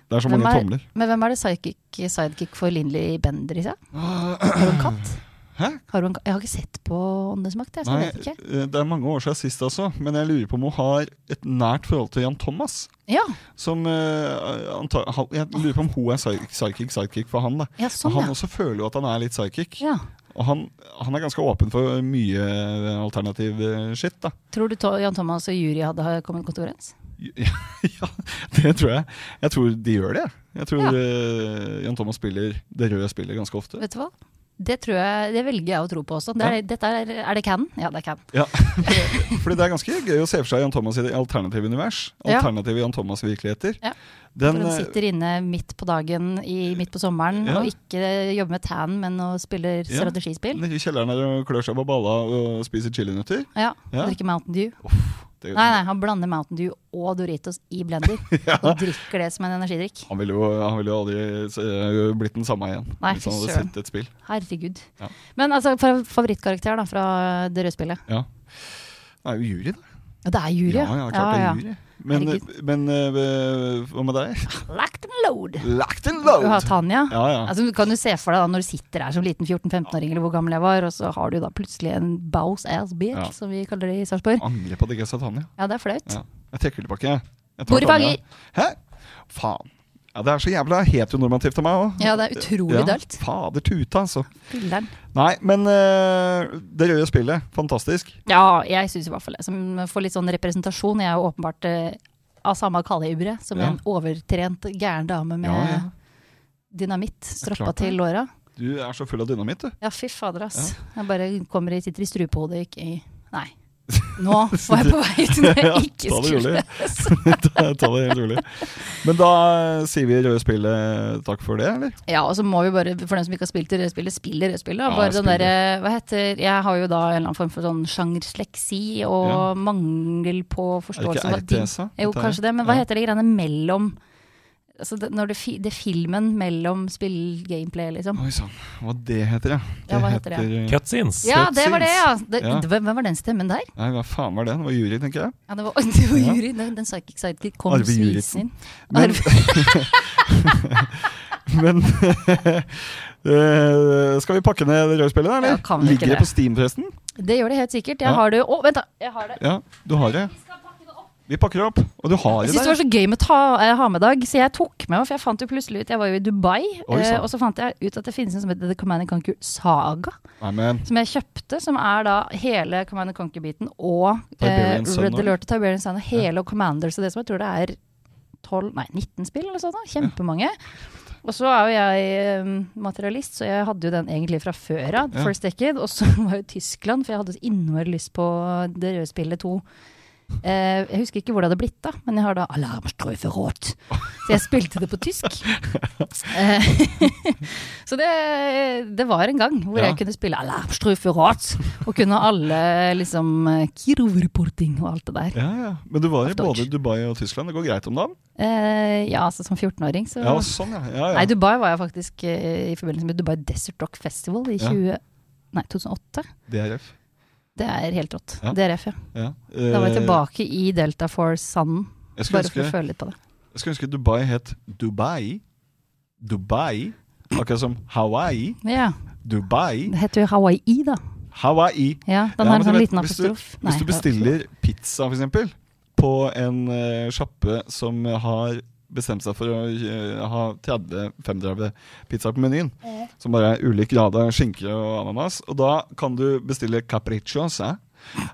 Speaker 2: Det er så
Speaker 3: Hvem
Speaker 2: mange
Speaker 3: er-
Speaker 2: tomler.
Speaker 3: Men hvem er det psychic sidekick for Lindley Bendriss? Ja? Er det en katt?
Speaker 2: Hæ?
Speaker 3: Har du en, jeg har ikke sett på Åndenes makt, jeg, så jeg vet ikke.
Speaker 2: eh, det er mange år siden sist også, men jeg lurer på om hun har et nært forhold til Jan Thomas.
Speaker 3: Ja,
Speaker 2: Som eh, anta- han- Jeg lurer på om hun er psy- psychic sidekick for han. da
Speaker 3: ja
Speaker 2: Og
Speaker 3: sånn,
Speaker 2: Han også føler jo at han er litt psychic.
Speaker 3: ja. ja.
Speaker 2: Og han, han er ganske åpen for mye eh, alternativ eh, shit, da.
Speaker 3: Tror du to- Jan Thomas og jury hadde ha- kommet godt overens?
Speaker 2: Ja, det tror jeg. Jeg tror de gjør det. Jeg tror
Speaker 3: Ja. Mm.
Speaker 2: eh, Jan Thomas spiller det røde spillet ganske ofte.
Speaker 3: Vet du hva? Det tror jeg, det velger jeg å tro på også. Det er, dette er, er det canon? Ja, det er canon.
Speaker 2: Ja, Fordi det er ganske gøy å se for seg Jan Thomas i det alternative univers.
Speaker 3: Ja.
Speaker 2: Alternative Jan Thomas-virkeligheter.
Speaker 3: Ja.
Speaker 2: Den,
Speaker 3: For hun
Speaker 2: eh,
Speaker 3: sitter inne midt på dagen, i, midt på sommeren,
Speaker 2: Ja.
Speaker 3: og ikke jobber med tan, men og spiller
Speaker 2: Ja.
Speaker 3: strategispill.
Speaker 2: ligger eh, i kjelleren der og klør seg på balla og spiser chilinøtter.
Speaker 3: Ja,
Speaker 2: Ja.
Speaker 3: og drikker Mountain Dew.
Speaker 2: Det-
Speaker 3: Nei, nei, han blander Mountain Dew og Doritos i blender, og drikker det som en energidrikk.
Speaker 2: Han ville jo, han ville jo aldri eh, blitt den samme igjen
Speaker 3: Nei,
Speaker 2: hvis han
Speaker 3: fy
Speaker 2: hadde
Speaker 3: søren.
Speaker 2: sett et spill.
Speaker 3: Herregud.
Speaker 2: Ja.
Speaker 3: Men altså, for favorittkarakter da, fra det røde spillet?
Speaker 2: Ja. Det er jo jury, da.
Speaker 3: Ja, det er jury,
Speaker 2: ja, ja, klart
Speaker 3: ja.
Speaker 2: det er jury. Men,
Speaker 3: Herregud.
Speaker 2: men eh, hva med deg?
Speaker 3: Locked and load.
Speaker 2: Lacked and
Speaker 3: Du har Tanja.
Speaker 2: Ja, ja.
Speaker 3: Altså, du kan jo se for deg da, når du sitter her som liten 14-15-åring, eller hvor gammel jeg var, og så har du da plutselig en bows ass bitch,
Speaker 2: Ja.
Speaker 3: som vi kaller det i Sarpsborg.
Speaker 2: Angrer på at jeg ikke sa Tanja.
Speaker 3: Ja, det er flaut.
Speaker 2: Ja. Jeg trekker tilbake. jeg. Jeg tar
Speaker 3: Hvor i
Speaker 2: Tanja.
Speaker 3: fanger?
Speaker 2: Hæ? Faen. Ja, det er så jævla heteronormativt av meg òg.
Speaker 3: Ja, det er utrolig dølt.
Speaker 2: Fader tute, altså.
Speaker 3: Filler'n.
Speaker 2: Nei, men eh, det røde spillet, fantastisk.
Speaker 3: Ja, jeg syns i hvert fall det. Som får litt sånn representasjon. Jeg er jo åpenbart eh, av samme kalibre som
Speaker 2: Ja.
Speaker 3: en overtrent gæren dame med
Speaker 2: Ja, ja.
Speaker 3: dynamitt stroppa
Speaker 2: klart det.
Speaker 3: til låra.
Speaker 2: Du er så full av dynamitt, du.
Speaker 3: Ja, fy fader, ass. Jeg bare kommer i, sitter i strupehodet, ikke i Nei. Nå var jeg på vei ut når
Speaker 2: Ja,
Speaker 3: jeg ikke
Speaker 2: ta det
Speaker 3: altså. skulle
Speaker 2: rolig. Ta ta det helt rolig. Men da eh, sier vi røde spillet eh, takk for det, eller?
Speaker 3: Ja, og så må vi bare, for dem som ikke har spilt det røde spillet, spille røde spillet. da.
Speaker 2: Ja,
Speaker 3: Bare den
Speaker 2: spille.
Speaker 3: derre, hva heter Jeg har jo da en eller annen form for sånn sjangersleksi og
Speaker 2: Ja.
Speaker 3: mangel på
Speaker 2: Er det
Speaker 3: forståelse.
Speaker 2: ikke
Speaker 3: av hva ting-
Speaker 2: RTS-a?
Speaker 3: Jo, kanskje det, men hva
Speaker 2: Ja.
Speaker 3: heter det greiene mellom Altså det, når det, fi, det filmen mellom spill gameplay, liksom.
Speaker 2: Oi sann, hva det heter, eh, ja.
Speaker 3: Ja, hva heter det?
Speaker 2: Mm.
Speaker 1: Cutscenes.
Speaker 3: Ja, det var det, ja! Det,
Speaker 2: Ja.
Speaker 3: det- Hvem var den stemmen der?
Speaker 2: Nei, hva faen var det? Det var jury, tenker jeg.
Speaker 3: Ja, det var, det var
Speaker 2: Ja.
Speaker 3: jury. Den, den psychic sidekick kom
Speaker 2: Arve
Speaker 3: svisen
Speaker 2: Juritzen.
Speaker 3: inn.
Speaker 2: Men,
Speaker 3: Arve-
Speaker 2: men eh, Skal vi pakke ned det røde spillet, da?
Speaker 3: Ja,
Speaker 2: Eller?
Speaker 3: kan vi ikke
Speaker 2: Ligger det
Speaker 3: det?
Speaker 2: på Steam, forresten?
Speaker 3: Det gjør det helt sikkert. Jeg
Speaker 2: Ja.
Speaker 3: har det jo Å, vent, da! Jeg har det.
Speaker 2: Ja, du har det. Vi pakker det opp. Og du har
Speaker 3: Jeg
Speaker 2: det
Speaker 3: synes det
Speaker 2: der.
Speaker 3: var så gøy med ta, eh, ha med dag, så jeg tok med meg, for jeg fant jo plutselig ut Jeg var jo i Dubai,
Speaker 2: Oi,
Speaker 3: eh,
Speaker 2: sant.
Speaker 3: og så fant jeg ut at det finnes en som heter The Command and Conquer Saga,
Speaker 2: Nei, men
Speaker 3: som jeg kjøpte, som er da hele Command and Conquer-biten og eh,
Speaker 2: Tiberian Sun
Speaker 3: Red
Speaker 2: også.
Speaker 3: Alert og Tiberian Sun og hele Commander, så det som jeg tror det er 12, nei 19 spill eller sånn, da. kjempemange. Og så er jo jeg eh, materialist, så jeg hadde jo den egentlig fra før av,
Speaker 2: Ja.
Speaker 3: First Decade, og så var jo Tyskland, for jeg hadde så innmari lyst på det røde spillet 2. Eh, jeg husker ikke hvor det hadde blitt, da, men jeg har da Alarmstrøferot. Så jeg spilte det på tysk. Eh, så det, det var en gang hvor
Speaker 2: Ja.
Speaker 3: jeg kunne spille Alarmstrøferot, og kunne alle liksom eh, Kirov-reporting og alt det der.
Speaker 2: ja, ja. Men du var i
Speaker 3: Auf Deutsch.
Speaker 2: både Dubai og Tyskland. Det går greit om dagen?
Speaker 3: Eh, ja, altså som 14-åring, så
Speaker 2: Ja, sånn, ja. ja,
Speaker 3: Nei,
Speaker 2: ja.
Speaker 3: Dubai var jeg faktisk eh, i forbindelse med Dubai Desert Rock Festival i
Speaker 2: Ja.
Speaker 3: 20, nei, 2008.
Speaker 2: DRF.
Speaker 3: Det er helt rått.
Speaker 2: Ja.
Speaker 3: DRF, ja.
Speaker 2: Ja.
Speaker 3: Da var jeg
Speaker 2: Eh,
Speaker 3: tilbake i Delta Force-sanden,
Speaker 2: Jeg skulle
Speaker 3: bare for å
Speaker 2: ønske,
Speaker 3: føle litt på det.
Speaker 2: jeg skulle ønske Dubai het Dubai. Dubai. Akkurat som Hawaii.
Speaker 3: Ja,
Speaker 2: Dubai.
Speaker 3: Det heter jo Hawaii, da.
Speaker 2: Hawaii.
Speaker 3: Ja,
Speaker 2: Ja,
Speaker 3: den
Speaker 2: men
Speaker 3: har en
Speaker 2: du
Speaker 3: sånn
Speaker 2: vet,
Speaker 3: liten
Speaker 2: hvis du-
Speaker 3: apostrof.
Speaker 2: Hvis du bestiller pizza, for eksempel, på en eh, sjappe som har bestemt seg for å eh, ha 30-35 pizzaer på menyen, som bare er ulik grad av skinke og ananas, og da kan du bestille capriccios, eh?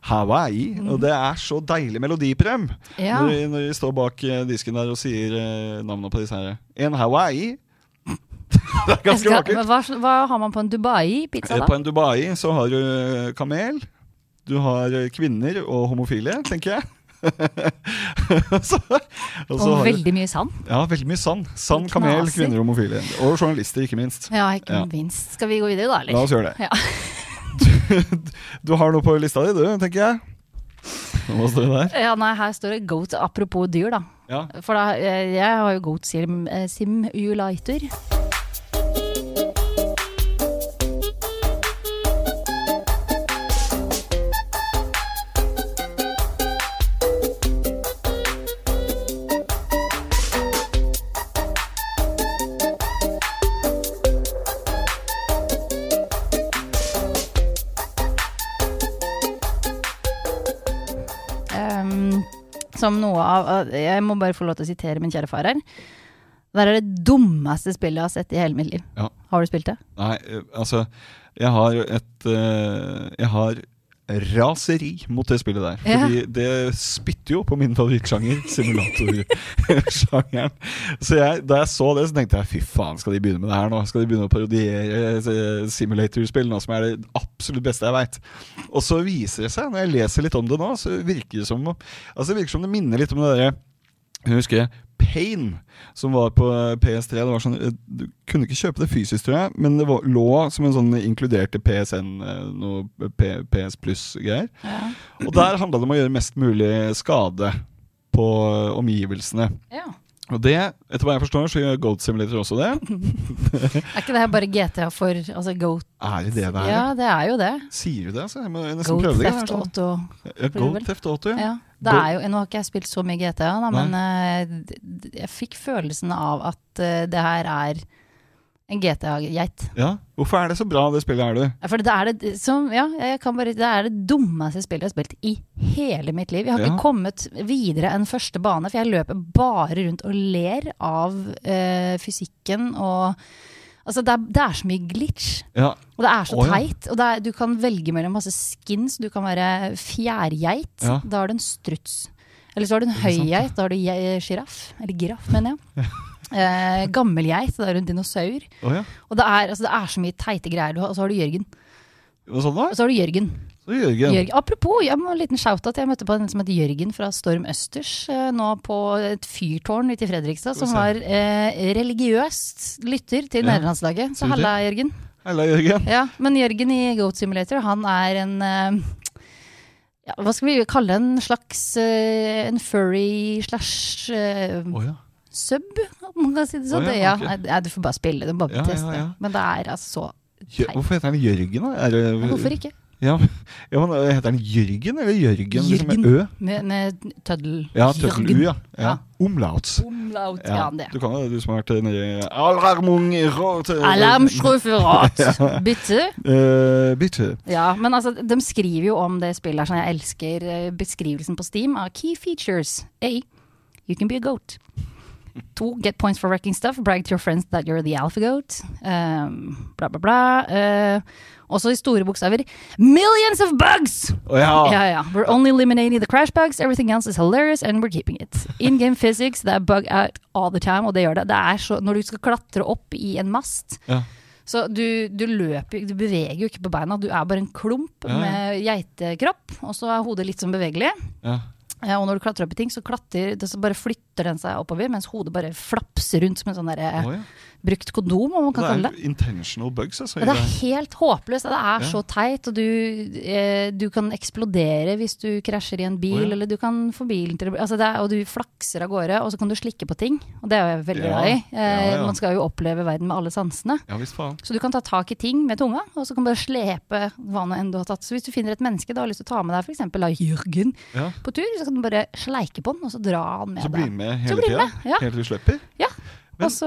Speaker 2: Hawaii. Og det er så deilig melodi på dem
Speaker 3: Mm. Ja.
Speaker 2: når, de- når de står bak eh, disken der og sier eh, navnet på disse her. En Hawaii. det er ganske
Speaker 3: Jeg skal-
Speaker 2: vakkert.
Speaker 3: Men hva, hva har man på en Dubai-pizza,
Speaker 2: Eh, På
Speaker 3: da?
Speaker 2: en Dubai så har du eh, kamel, du har eh, kvinner og homofile, tenker jeg. så, og så
Speaker 3: Og
Speaker 2: har du,
Speaker 3: veldig mye sand.
Speaker 2: ja, veldig mye sand. Sand,
Speaker 3: Og
Speaker 2: kamel,
Speaker 3: knaser.
Speaker 2: kvinner og homofile. Og journalister, ikke minst.
Speaker 3: Ja, ikke
Speaker 2: Ja.
Speaker 3: minst. Skal vi gå videre, da, eller?
Speaker 2: La oss gjøre det.
Speaker 3: Ja.
Speaker 2: Du har noe på lista di, du, tenker jeg. Hva står det der?
Speaker 3: Ja, nei, her står det goat, apropos dyr, da.
Speaker 2: Ja.
Speaker 3: For da, eh, jeg har jo goat sim, eh, simulator. Ehm, som noe av Jeg må bare få lov til å sitere min kjære far her. Det er det dummeste spillet jeg har sett i hele mitt liv.
Speaker 2: Ja.
Speaker 3: Har du spilt det?
Speaker 2: Nei, eh, altså Jeg har jo et eh, Jeg har raseri mot det spillet der.
Speaker 3: Ja.
Speaker 2: Fordi det spytter jo på min favorittsjanger, simulatorsjangeren. Så jeg, da jeg så det, så tenkte jeg fy faen, skal de begynne med det her nå? Skal de begynne å parodiere eh, simulatorspill nå, som er det absolutt beste jeg veit? Og så viser det seg, når jeg leser litt om det nå, så virker det som Altså det virker som det minner litt om det derre jeg husker Pain, som var på PS3. Det var sånn, eh, du kunne ikke kjøpe det fysisk, tror jeg, men det var, lå som en sånn inkluderte PSN, eh, noe P PS Pluss-greier. Og der handla det om å gjøre mest mulig skade på eh, omgivelsene.
Speaker 3: Ja.
Speaker 2: Og det, etter hva jeg forstår, så gjør Goat Simulator også det.
Speaker 3: Er ikke det her bare GTA for altså Goat?
Speaker 2: Er det det det er?
Speaker 3: Ja, det er jo det.
Speaker 2: Sier du det? Altså? Jeg må nesten
Speaker 3: Goat
Speaker 2: prøve det.
Speaker 3: Theft
Speaker 2: Sånn.
Speaker 3: Auto.
Speaker 2: Ja, Goat Theft Auto, ja.
Speaker 3: Ja. Det er jo, nå har ikke jeg spilt så mye GTA, da, men eh, d- d- jeg fikk følelsen av at eh, det her er en GTA-geit.
Speaker 2: ja. Hvorfor er det så bra, det spillet, er du?
Speaker 3: Ja, For det er det, som, ja, jeg kan bare, det er det dummeste spillet jeg har spilt i hele mitt liv. Jeg har
Speaker 2: Ja.
Speaker 3: ikke kommet videre enn første bane, for jeg løper bare rundt og ler av eh, fysikken og Altså, det er, det er så mye glitch.
Speaker 2: Ja,
Speaker 3: Og det er så
Speaker 2: Å, ja.
Speaker 3: teit. Og det er, du kan velge mellom masse skins. Du kan være fjærgeit.
Speaker 2: Ja.
Speaker 3: Da har du en struts. Eller så har du en
Speaker 2: sant, ja.
Speaker 3: høygeit. Da har du eh, sjiraff. Eller giraff, mener jeg. Eh, Gammelgeit. Da er du en dinosaur.
Speaker 2: Å ja.
Speaker 3: Og det er, altså, det er så mye teite greier. Du har, og så har du Jørgen.
Speaker 2: Og sånn da?
Speaker 3: Og så har du Jørgen.
Speaker 2: Så Jørgen.
Speaker 3: Jørgen. Apropos, jeg må en liten shout-out. Jeg møtte på en som het Jørgen fra Storm Østers eh, nå på et fyrtårn ute i Fredrikstad,
Speaker 2: Skal vi
Speaker 3: som var eh, religiøst lytter til
Speaker 2: Ja. Skal
Speaker 3: nederlandslaget. Så
Speaker 2: vi se.
Speaker 3: halla, Jørgen.
Speaker 2: Halla, Jørgen.
Speaker 3: Ja, men Jørgen i Goat Simulator, han er en eh, ja, Hva skal vi kalle en slags eh, En furry slash eh,
Speaker 2: Å ja.
Speaker 3: sub, om man kan si det sånn.
Speaker 2: Å ja,
Speaker 3: ja,
Speaker 2: ok.
Speaker 3: nei, nei, du får bare spille, du må bare
Speaker 2: Ja, ja,
Speaker 3: teste.
Speaker 2: ja.
Speaker 3: Men det er altså så
Speaker 2: Jø-
Speaker 3: teit.
Speaker 2: Hvorfor heter han Jørgen, da? Er det,
Speaker 3: Men Hvorfor ikke?
Speaker 2: Ja, ja, men øh, Heter han Jørgen eller Jørgen? Liksom med
Speaker 3: Jørgen.
Speaker 2: Ø?
Speaker 3: Med, med tøddel.
Speaker 2: Ja, tøffel U, ja. ja.
Speaker 3: Ja.
Speaker 2: Umlauts.
Speaker 3: Omlaut,
Speaker 2: Ja,
Speaker 3: ja, det.
Speaker 2: Du kan jo det, du som har vært nedi Alarmung i råd
Speaker 3: Alarmsruferat! Bitte.
Speaker 2: Eh, Bitte.
Speaker 3: Ja, men altså, de skriver jo om det spillet her, sånn jeg elsker eh, beskrivelsen på Steam av key features. A. You can be a goat. To, get points for wrecking stuff. Brag to your friends that you're the alpha goat. Um, bla, bla, bla. Eh, også i store bokstaver. Millions of bugs!
Speaker 2: Å ja.
Speaker 3: Ja, ja. We're
Speaker 2: Ah.
Speaker 3: only eliminating the crash bugs. Everything else is hilarious, and we're keeping it. In game physics, they bug out all the time, og det gjør det. Det er så Når du skal klatre opp i en mast,
Speaker 2: Ja.
Speaker 3: så du, du løper jo- Du beveger jo ikke på beina, du er bare en klump
Speaker 2: Ja, ja.
Speaker 3: med geitekropp, og så er hodet litt sånn bevegelig.
Speaker 2: ja.
Speaker 3: Ja, og når du klatrer opp i ting, så, klatrer, det- så bare flytter den seg oppover, mens hodet bare flapser rundt som en sånn derre
Speaker 2: Å ja.
Speaker 3: brukt kondom, om man kan
Speaker 2: Det
Speaker 3: kalle det.
Speaker 2: er intentional bugs, altså. i
Speaker 3: Ja, det
Speaker 2: det.
Speaker 3: er helt håpløst. Det er
Speaker 2: Ja.
Speaker 3: så teit. Og du, eh, du kan eksplodere hvis du krasjer i en bil,
Speaker 2: Å, ja.
Speaker 3: eller du kan få bilen til å bli- altså det er, Og du flakser av gårde, og så kan du slikke på ting. Og det er jeg veldig
Speaker 2: Ja.
Speaker 3: glad i. Eh,
Speaker 2: Ja, ja.
Speaker 3: Man skal jo oppleve verden med alle sansene.
Speaker 2: Ja visst faen.
Speaker 3: Så du kan ta tak i ting med tunga, og så kan du bare slepe hva nå enn du har tatt. Så hvis du finner et menneske du har lyst til å ta med deg, f.eks. av Jørgen,
Speaker 2: Ja.
Speaker 3: på tur, så kan du bare sleike på den, og så dra han med
Speaker 2: Så blir
Speaker 3: deg.
Speaker 2: du med
Speaker 3: Så
Speaker 2: hele
Speaker 3: blir du
Speaker 2: tida?
Speaker 3: med, ja.
Speaker 2: Helt til du slipper? med.
Speaker 3: Og så,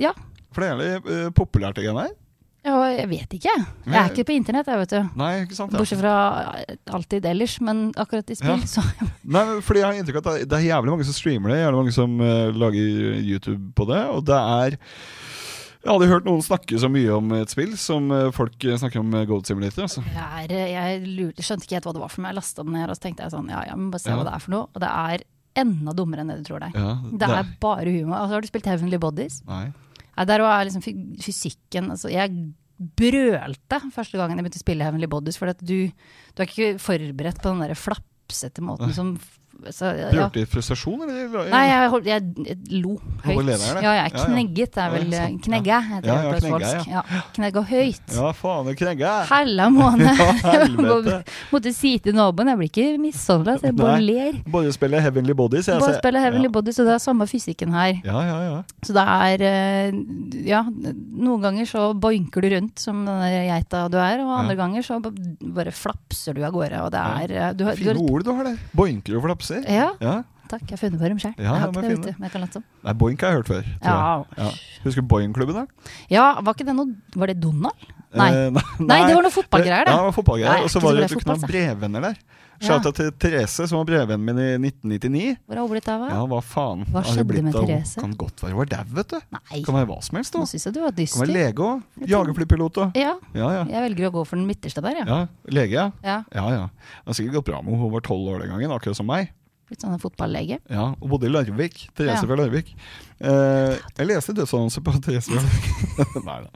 Speaker 3: ja.
Speaker 2: For det er jævlig øh, populært, det greiene der.
Speaker 3: Ja, Jeg vet ikke. Jeg er ikke på internett, jeg, vet du.
Speaker 2: Nei, ikke sant? Ja.
Speaker 3: Bortsett fra eh, alltid ellers, men akkurat i spill,
Speaker 2: Ja.
Speaker 3: så
Speaker 2: Nei, men fordi jeg har inntrykk av at det er, det er jævlig mange som streamer det, jævlig mange som eh, lager YouTube på det, og det er Jeg har aldri hørt noen snakke så mye om et spill som eh, folk eh, snakker om eh, Goat Simulator. Altså.
Speaker 3: jeg, er, jeg lurte, skjønte ikke helt hva det var for meg. Jeg lasta den ned, og så tenkte jeg sånn, ja ja, men bare se
Speaker 2: Ja.
Speaker 3: hva det er for noe. Og det er enda dummere enn det du tror det er.
Speaker 2: Ja,
Speaker 3: Det er bare humor. Altså, har du spilt Heavenly Bodies?
Speaker 2: Nei.
Speaker 3: Nei, der også er liksom fy- fysikken altså, Jeg brølte første gangen jeg begynte å spille Heavenly Bodies, for at du, du er ikke forberedt på den der flapsete måten som så, ja.
Speaker 2: Brølte i frustrasjon, eller?
Speaker 3: Nei, jeg, holdt, jeg, jeg lo
Speaker 2: Holdt på
Speaker 3: høyt.
Speaker 2: lederen, ja.
Speaker 3: Ja, jeg
Speaker 2: Ja, ja.
Speaker 3: knegget er vel
Speaker 2: Ja, ikke sant.
Speaker 3: Knegge, heter
Speaker 2: Ja,
Speaker 3: det
Speaker 2: ja,
Speaker 3: på
Speaker 2: knegge,
Speaker 3: svensk. Ja. Knegga høyt.
Speaker 2: Ja, faen, du knegga!
Speaker 3: Hella måne.
Speaker 2: Ja,
Speaker 3: Jeg
Speaker 2: helvete.
Speaker 3: må- måtte si til naboen Jeg blir ikke mishandla, så jeg bare
Speaker 2: Nei. altså-
Speaker 3: ler.
Speaker 2: Bare spille Heavenly Bodies. jeg
Speaker 3: Bare
Speaker 2: ser-
Speaker 3: spiller Heavenly Body, så det er samme fysikken her.
Speaker 2: Ja, ja, ja.
Speaker 3: Så det er eh, Ja, noen ganger så boinker du rundt som den der geita du er, og andre
Speaker 2: Ja.
Speaker 3: ganger så b- bare flapser du av gårde, og det
Speaker 2: Ja.
Speaker 3: er eh, du, har- du,
Speaker 2: Fine
Speaker 3: har-
Speaker 2: ord du har der. Boinker og flapser.
Speaker 3: Ja,
Speaker 2: Ja.
Speaker 3: takk. Jeg har funnet på dem sjøl.
Speaker 2: Ja,
Speaker 3: jeg har
Speaker 2: det må
Speaker 3: ikke
Speaker 2: jeg
Speaker 3: det, vet du. Men jeg kan late som.
Speaker 2: Nei, Boink har jeg hørt før. tror
Speaker 3: Ja.
Speaker 2: jeg. Husker du Boing-klubben, da?
Speaker 3: ja, var ikke det noe Var det Donald? Nei.
Speaker 2: Eh, nei,
Speaker 3: Nei, det var noe fotballgreier,
Speaker 2: Ja,
Speaker 3: det.
Speaker 2: det var fotballgreier.
Speaker 3: Nei, jeg er
Speaker 2: og så
Speaker 3: ikke så
Speaker 2: var det
Speaker 3: glad
Speaker 2: at
Speaker 3: i
Speaker 2: du kunne ha
Speaker 3: fotball, altså.
Speaker 2: brevvenner der.
Speaker 3: Ja.
Speaker 2: Shouta til Therese, som var brevvennen min i 1999.
Speaker 3: Hvor er hun blitt av?
Speaker 2: Ja, hva faen?
Speaker 3: Hva
Speaker 2: har hun
Speaker 3: skjedde
Speaker 2: blitt
Speaker 3: med
Speaker 2: av? Hun
Speaker 3: Therese?
Speaker 2: Kan godt være hun var dau, vet du.
Speaker 3: Nei,
Speaker 2: Kan være hva som helst,
Speaker 3: nå
Speaker 2: da.
Speaker 3: syns jeg du var
Speaker 2: Kan være
Speaker 3: dyster.
Speaker 2: lege òg. Jagerflypilot òg.
Speaker 3: Ja,
Speaker 2: Ja, ja.
Speaker 3: jeg velger å gå for den midterste der, ja.
Speaker 2: ja. Lege, ja.
Speaker 3: ja.
Speaker 2: Ja, ja. Det har sikkert gått bra med henne. Hun var tolv år den gangen, akkurat som meg.
Speaker 3: Litt sånn en fotballege.
Speaker 2: Ja, Og bodde i Larvik. Therese
Speaker 3: Ja.
Speaker 2: fra Larvik. Eh, jeg leste dødsannonser på Therese fra Larvik. Nei da.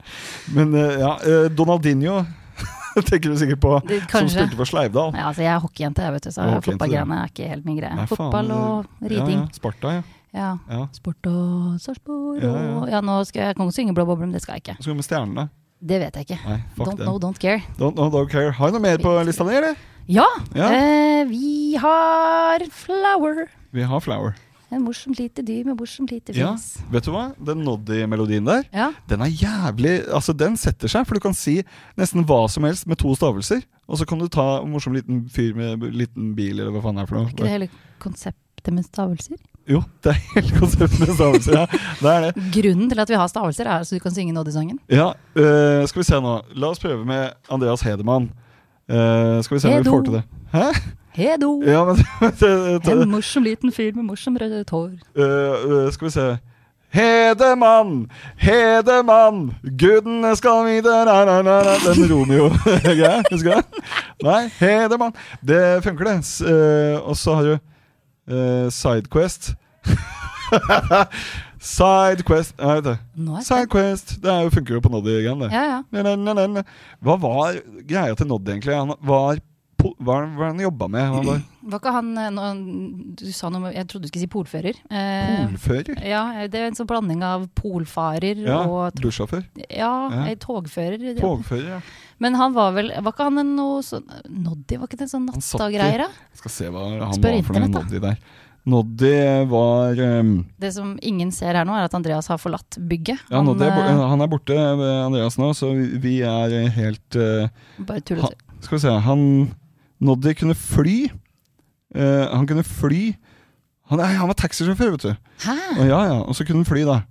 Speaker 2: Men eh, ja, eh, Donaldinho tenker du sikkert på.
Speaker 3: Det,
Speaker 2: Som
Speaker 3: kanskje.
Speaker 2: spilte for Sleivdal.
Speaker 3: Ja, altså jeg er hockeyjente, jeg, vet du,
Speaker 2: Du
Speaker 3: så
Speaker 2: er hockeyjente,
Speaker 3: fotballgreiene er ikke helt min greie.
Speaker 2: Nei, faen,
Speaker 3: Fotball og riding.
Speaker 2: Ja, ja. Sparta, ja.
Speaker 3: Ja.
Speaker 2: ja.
Speaker 3: Sport og Sarpsborg
Speaker 2: Ja,
Speaker 3: og
Speaker 2: ja.
Speaker 3: ja, nå skal jeg kan ikke synge Blå boble, men det skal jeg ikke.
Speaker 2: Så skal vi med stjernene.
Speaker 3: Det vet jeg ikke.
Speaker 2: Nei, fuck
Speaker 3: Don't
Speaker 2: den.
Speaker 3: know, don't care.
Speaker 2: Don't know, don't care. Har du noe mer på lista di, eller?
Speaker 3: Ja,
Speaker 2: Ja.
Speaker 3: Eh, vi har Flower.
Speaker 2: Vi har Flower.
Speaker 3: En morsomt lite dyr med morsomt lite
Speaker 2: Ja.
Speaker 3: fjes.
Speaker 2: Vet du hva? Den Noddy-melodien der,
Speaker 3: Ja.
Speaker 2: den er jævlig Altså, den setter seg, for du kan si nesten hva som helst med to stavelser. Og så kan du ta en morsom liten fyr med b- liten bil, eller hva faen det er for
Speaker 3: Er ikke det
Speaker 2: noe.
Speaker 3: hele konseptet med stavelser?
Speaker 2: Jo, det er hele konseptet med stavelser. Ja, det er det.
Speaker 3: Grunnen til at vi har stavelser, er så du kan synge Noddy-sangen.
Speaker 2: Ja, øh, skal vi se nå. La oss prøve med Andreas Hedemann. Eh, skal vi se om vi
Speaker 3: Hedo.
Speaker 2: får til det. Hæ?
Speaker 3: Hedo!
Speaker 2: Ja, men
Speaker 3: En morsom liten fyr med morsom rødt hår.
Speaker 2: Øh, øh, skal vi se Hedemann, Hedemann, gudene skal vite na, na, na, na. Den Romeo-greia, husker du det? Nei, Hedemann. Det funker, det. S- øh, og så har du øh, Sidequest. Sidequest Nei, vet du.
Speaker 3: Nå er jeg spent.
Speaker 2: Sidequest. Det er jo, funker jo på Noddy igjen, det.
Speaker 3: Ja, ja.
Speaker 2: Na, na, na, na, na. Hva var greia til Noddy, egentlig? Han var po hva var det han jobba med? Han var
Speaker 3: Var ikke han eh, nå- Du sa noe om- Jeg trodde du skulle si polfører. Eh,
Speaker 2: polfører.
Speaker 3: Ja, det er en sånn blanding av polfarer
Speaker 2: Ja,
Speaker 3: og tro-
Speaker 2: Bussjåfør.
Speaker 3: Ja,
Speaker 2: Ja.
Speaker 3: eh, togfører. ja.
Speaker 2: Togfører, ja.
Speaker 3: Men han var vel Var ikke han en noe sånn Noddy, var ikke det en sånn
Speaker 2: Han satt i-
Speaker 3: nattagreier, da?
Speaker 2: Skal se hva han
Speaker 3: Spør
Speaker 2: var for noe
Speaker 3: internett,
Speaker 2: Noddy der. Noddy var ehm,
Speaker 3: Det som ingen ser her nå, er at Andreas har forlatt bygget.
Speaker 2: ja, Noddy er,
Speaker 3: eh,
Speaker 2: bo- han er borte, eh, Andreas, nå, så vi- vi er eh, helt eh, han,
Speaker 3: bare tullet.
Speaker 2: Skal vi se han, Noddy kunne fly. Eh, han kunne fly Han, nei, han var taxisjåfør, vet du.
Speaker 3: Hæ?
Speaker 2: Og, ja, ja, og så kunne han fly, da.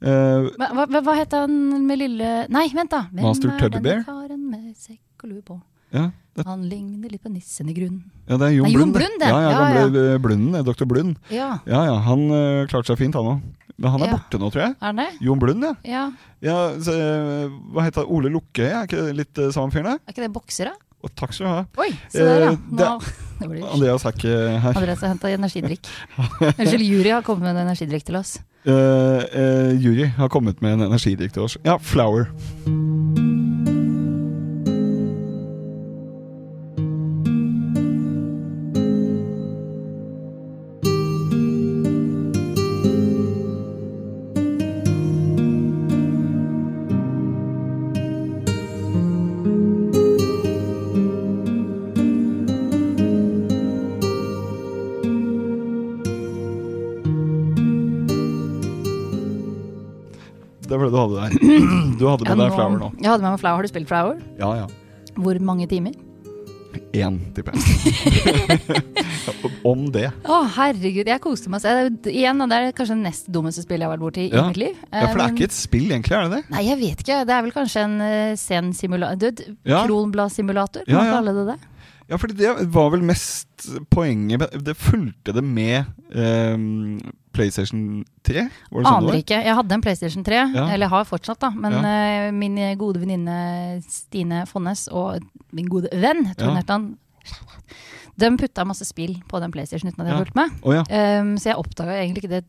Speaker 2: Eh,
Speaker 3: Men Hva, hva, hva het han med lille Nei, vent, da. Hvem
Speaker 2: Master
Speaker 3: er
Speaker 2: Teddy
Speaker 3: den
Speaker 2: Bear?
Speaker 3: Karen med sekk og lue på.
Speaker 2: ja, det,
Speaker 3: Han ligner litt på nissen i grunnen.
Speaker 2: ja, det er Jon
Speaker 3: Nei, Jon
Speaker 2: Blund. det.
Speaker 3: Blund, det.
Speaker 2: Ja, ja,
Speaker 3: Ja,
Speaker 2: gamle eh, Blunden, eh, Dr. Blund.
Speaker 3: Ja,
Speaker 2: Ja, ja, han eh, klarte seg fint, han òg. Men han er
Speaker 3: Ja.
Speaker 2: borte nå, tror jeg.
Speaker 3: er han det?
Speaker 2: Jon Blund, ja.
Speaker 3: Ja.
Speaker 2: ja så, eh, hva heter han? Ole Lukkøy, er ikke det litt eh, samme fyren? der?
Speaker 3: Er ikke det bokser, da?
Speaker 2: Og takk skal du ha.
Speaker 3: Oi, se der, ja.
Speaker 2: Eh,
Speaker 3: Nå, det blir
Speaker 2: Andreas er ikke her.
Speaker 3: Andreas har henta energidrikk. Unnskyld, jury har kommet med en energidrikk til oss.
Speaker 2: Eh, eh, Juri har kommet med en energidrikk til oss. Ja, Flower. Det var det du hadde der. Du hadde med deg Flower nå.
Speaker 3: Jeg hadde med meg Flower. Har du spilt Flower?
Speaker 2: Ja, ja.
Speaker 3: Hvor mange timer?
Speaker 2: Én, tipper jeg. Om det.
Speaker 3: Å, herregud, jeg koste meg. Så jeg- Igjen, da, det er kanskje det nest dummeste spillet jeg har vært borti i
Speaker 2: Ja.
Speaker 3: mitt liv.
Speaker 2: Ja, For det er
Speaker 3: Eh,
Speaker 2: ikke et spill, egentlig? er det det?
Speaker 3: men- Nei, jeg vet ikke. Det er vel kanskje en eh, sen simulator.
Speaker 2: Ja.
Speaker 3: Kronbladsimulator, kan
Speaker 2: Ja,
Speaker 3: man
Speaker 2: ja.
Speaker 3: kalle det det.
Speaker 2: Ja, fordi det var vel mest poenget med- Det fulgte det med eh, PlayStation 3? Var det sånn
Speaker 3: Aner
Speaker 2: det var?
Speaker 3: ikke. Jeg hadde en PlayStation 3,
Speaker 2: Ja.
Speaker 3: eller har fortsatt, da. Men
Speaker 2: Ja.
Speaker 3: eh, min gode venninne Stine Fonnes og min gode venn Trond
Speaker 2: Ja.
Speaker 3: Hjertan de putta masse spill på den PlayStation uten at jeg
Speaker 2: Ja.
Speaker 3: fulgte med.
Speaker 2: Å ja.
Speaker 3: Um, så jeg oppdaga egentlig ikke det